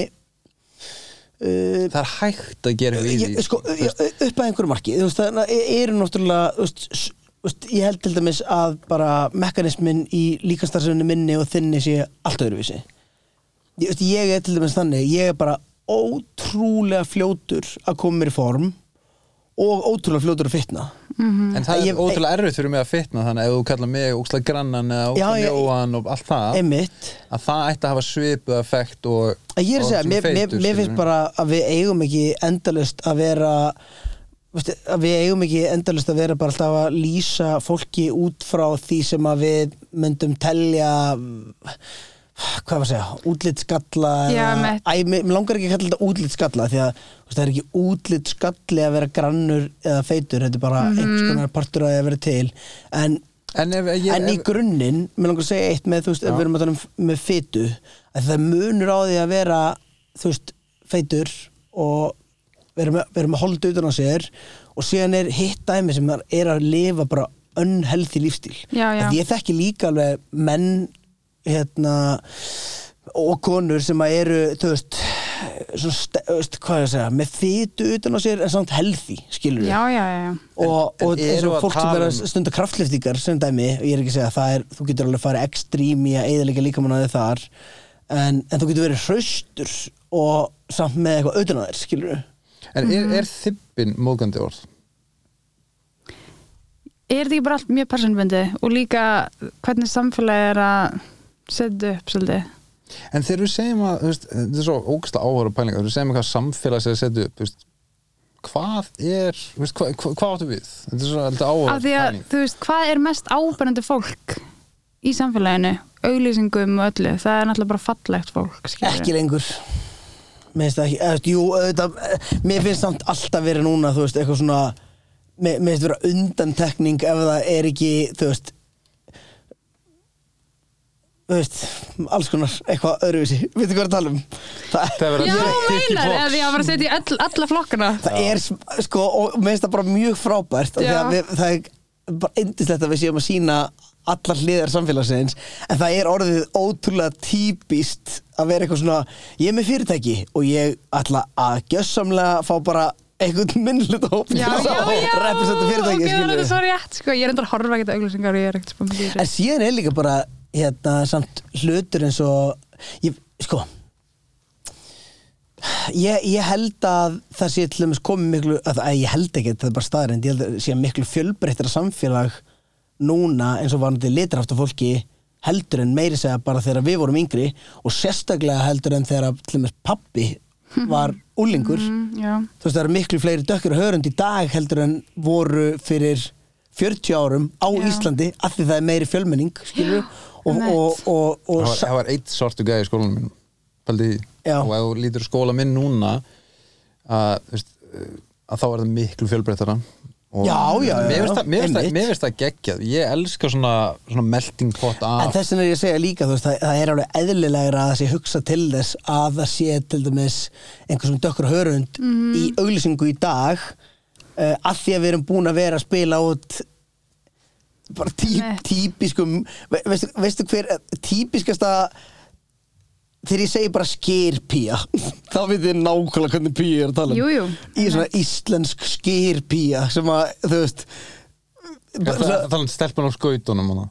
S2: uh,
S4: það er hægt að gera eitthvað í
S2: ég,
S4: því
S2: sko, ég, upp að einhverju marki þú veist, það e-, eru náttúrulega þú veist, s- þú veist, ég held til dæmis að bara mekanismin í líkanstarfsefni minni og þinni sé allt öðruvísi ég, þú veist, ég er til dæmis þannig ég er bara ótrúlega fljótur að koma mér í form og ótrúlega fljótur að fitna
S4: en það er
S2: Mm. Ég-
S4: ótrúlega erfitt fyrir mig að fitna þannig ef þú kallar mig ókslega grannan eða ókslega
S2: Já, ég-
S4: mjóan og allt það
S2: einmitt
S4: að það ætti að hafa svipu effekt og
S2: Að Ég er að
S4: og
S2: segja,
S4: svona
S2: mér, mér, mér
S4: feitur, skilurðu.
S2: finnst bara að við eigum ekki endalust að vera veist, að við eigum ekki endalust að vera bara alltaf að lýsa fólki út frá því sem að við myndum telja hvað var að segja, útlitsgalla
S3: Já,
S2: eða-
S3: mitt.
S2: Æ, mér mér langar ekki að kalla þetta útlitsgalla því að þú veist, það er ekki útlitsgalli að vera grannur eða feitur, þetta er bara
S3: Mhm.
S2: einhvers konar partur að það að vera til en
S4: en, ef, ég,
S2: en í
S4: ef,
S2: grunninn, mér langar að segja eitt með, þú veist, ef við erum að tala um með fytu að það munur á því að vera þú veist, feitur og vera með, vera með holdi utan á sér og síðan er hitt dæmi sem maður er að lifa bara unhealthy lífstíl
S3: Já, já.
S2: Að ég þekki líka alveg menn hérna og konur sem að eru þú veist, svona, ste- þú veist hvað er að segja, með fytu utan á sér en samt healthy, skilur
S3: já, já, já, já.
S2: og,
S4: En- en
S2: og eins
S4: eru
S2: og
S4: að
S2: fólk sem
S4: tala
S2: verður
S4: um-
S2: að stunda kraftliftingar sem dæmi, og ég er ekki að segja að það er þú getur alveg að fara ekstrím í að eðalega líkamannaði þar en, en þú getur verið hraustur og samt með eitthvað auðvitaðir, skilur við
S4: en
S2: Mm-hmm.
S4: er, er þippin móðgandi orð
S3: er þetta ekki bara allt mjög persónbundi og líka hvernig samfélagi er að setja upp svolítið
S4: en þegar við segjum að þú veist, þetta er svo ógæslega áhverju pælinga þegar við segjum hvað samfélags er að setja upp þú veist, hvað er þú veist, hvað, hvað, hvað áttu við þetta er svo
S3: af
S4: áhverju
S3: því að
S4: pæling
S3: þú veist hvað er mest ábærandi fólk í samfélaginu, auglýsingum og öllu það er náttúrulega bara fallegt fólk skilurðu.
S2: ekki lengur mér finnst það ekki, eða, þú veist, jú, auðvitað eh, mér finnst samt alltaf verið núna þú veist, eitthvað svona mér mér finnst vera undantekning ef það er ekki þú veist þú veist, alls konar eitthvað öðruvísi, veitu hvað ég er að tala um það,
S4: það er verið
S3: já,
S4: að tick í
S3: meinar,
S4: box.
S3: eða ég var bara að setja í all, alla flokkana
S2: það er sm- sko, og mér finnst það bara mjög frábært og
S3: Já.
S2: þegar við, það er bara indislegt að við séum að sína allar hliðar samfélagsins en það er orðið ótrúlega típist að vera eitthvað svona ég er með fyrirtæki og ég ætla að gjössamlega fá bara einhvern minnlut hóp
S3: já, já, já,
S2: representa fyrirtæki
S3: ok, það
S2: skilurðu.
S3: er svo rétt sko. ég er enda að horfa ekkert á auglýsingar og ég er ekkert spöndið í
S2: En
S3: þessu
S2: síðan er líka bara hérna, samt hlutur eins og ég, sko ég, ég held að það sé til dæmis komið miklu að, að ég held ekki, það er bara staðarind ég held að sé miklu fjölbreyttara samfélag núna eins og varandi litrafta fólki heldur en meiri segja bara þegar við vorum yngri og sérstaklega heldur en þegar til dæmis pappi var úlingur
S3: Mm, já,
S2: þú veist það eru miklu fleiri dökkir og hörund í dag heldur en voru fyrir 40 árum á
S3: Já.
S2: Íslandi af því það er meiri fjölmenning skilur og,
S3: *gasps* einmitt.
S2: og, og, og,
S4: það var,
S2: sa-
S4: það var eitt svartu gæði í skólanum minn Paldi,
S2: Já.
S4: og ef þú lítur á skóla minn núna að, þú veist, eh, að þá er það miklu fjölbreyttara Og
S2: Já, já, já,
S4: mér finnst
S2: já,
S4: það- mér finnst það-
S2: einmitt.
S4: mér finnst það geggjað ég elska svona, svona melting pot af
S2: en þess vegna er ég að segja líka þú veist það, það er alveg eðlilegra að það sé hugsa til þess að það sé til dæmis einhversum dökkur og hörund í
S3: Mhm.
S2: auglýsingu í dag uh, af því að við erum búin að vera að spila út bara tí,
S3: Einmitt.
S2: típiskum ve, veistu, veistu hver eh, típiskasta þegar ég segi bara skýrpía *laughs* þá veit ég nákvæmlega hvernig pía ég er að tala um
S3: Jú, jú.
S2: í svona íslensk skýrpía sem að þú veist
S4: Já, það, það, það er stelpun um á skautunum hana.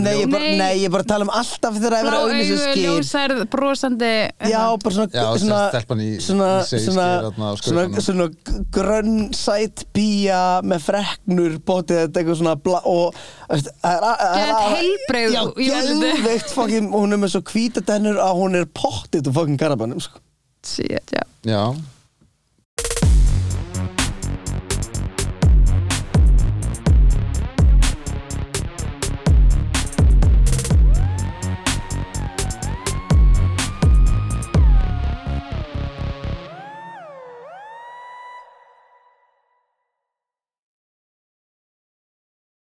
S2: Nei, ég bara,
S3: Nei.
S2: nei. ég bara tala um alltaf þegar það er
S3: blá
S2: verið að
S3: augu,
S2: auðvitað skýr
S3: ljósærð, brosandi hérna,
S2: Já, bara svona
S4: Já, sem
S2: svona,
S4: stelpan í-
S2: svona,
S4: í segi
S2: svona,
S4: skýr þarna á
S2: svona,
S4: skautunum.
S2: svona grönn sætt pía með freknur bótið þetta eitthvað svona bla, og veist, það er- það er-
S3: Geðveikt heilbrigð
S2: Já,
S3: í útliti.
S2: geðveikt fucking, hún er með svo hvíta tennur að hún er pottið úr fucking garabannum sko.
S3: Shit, já.
S4: já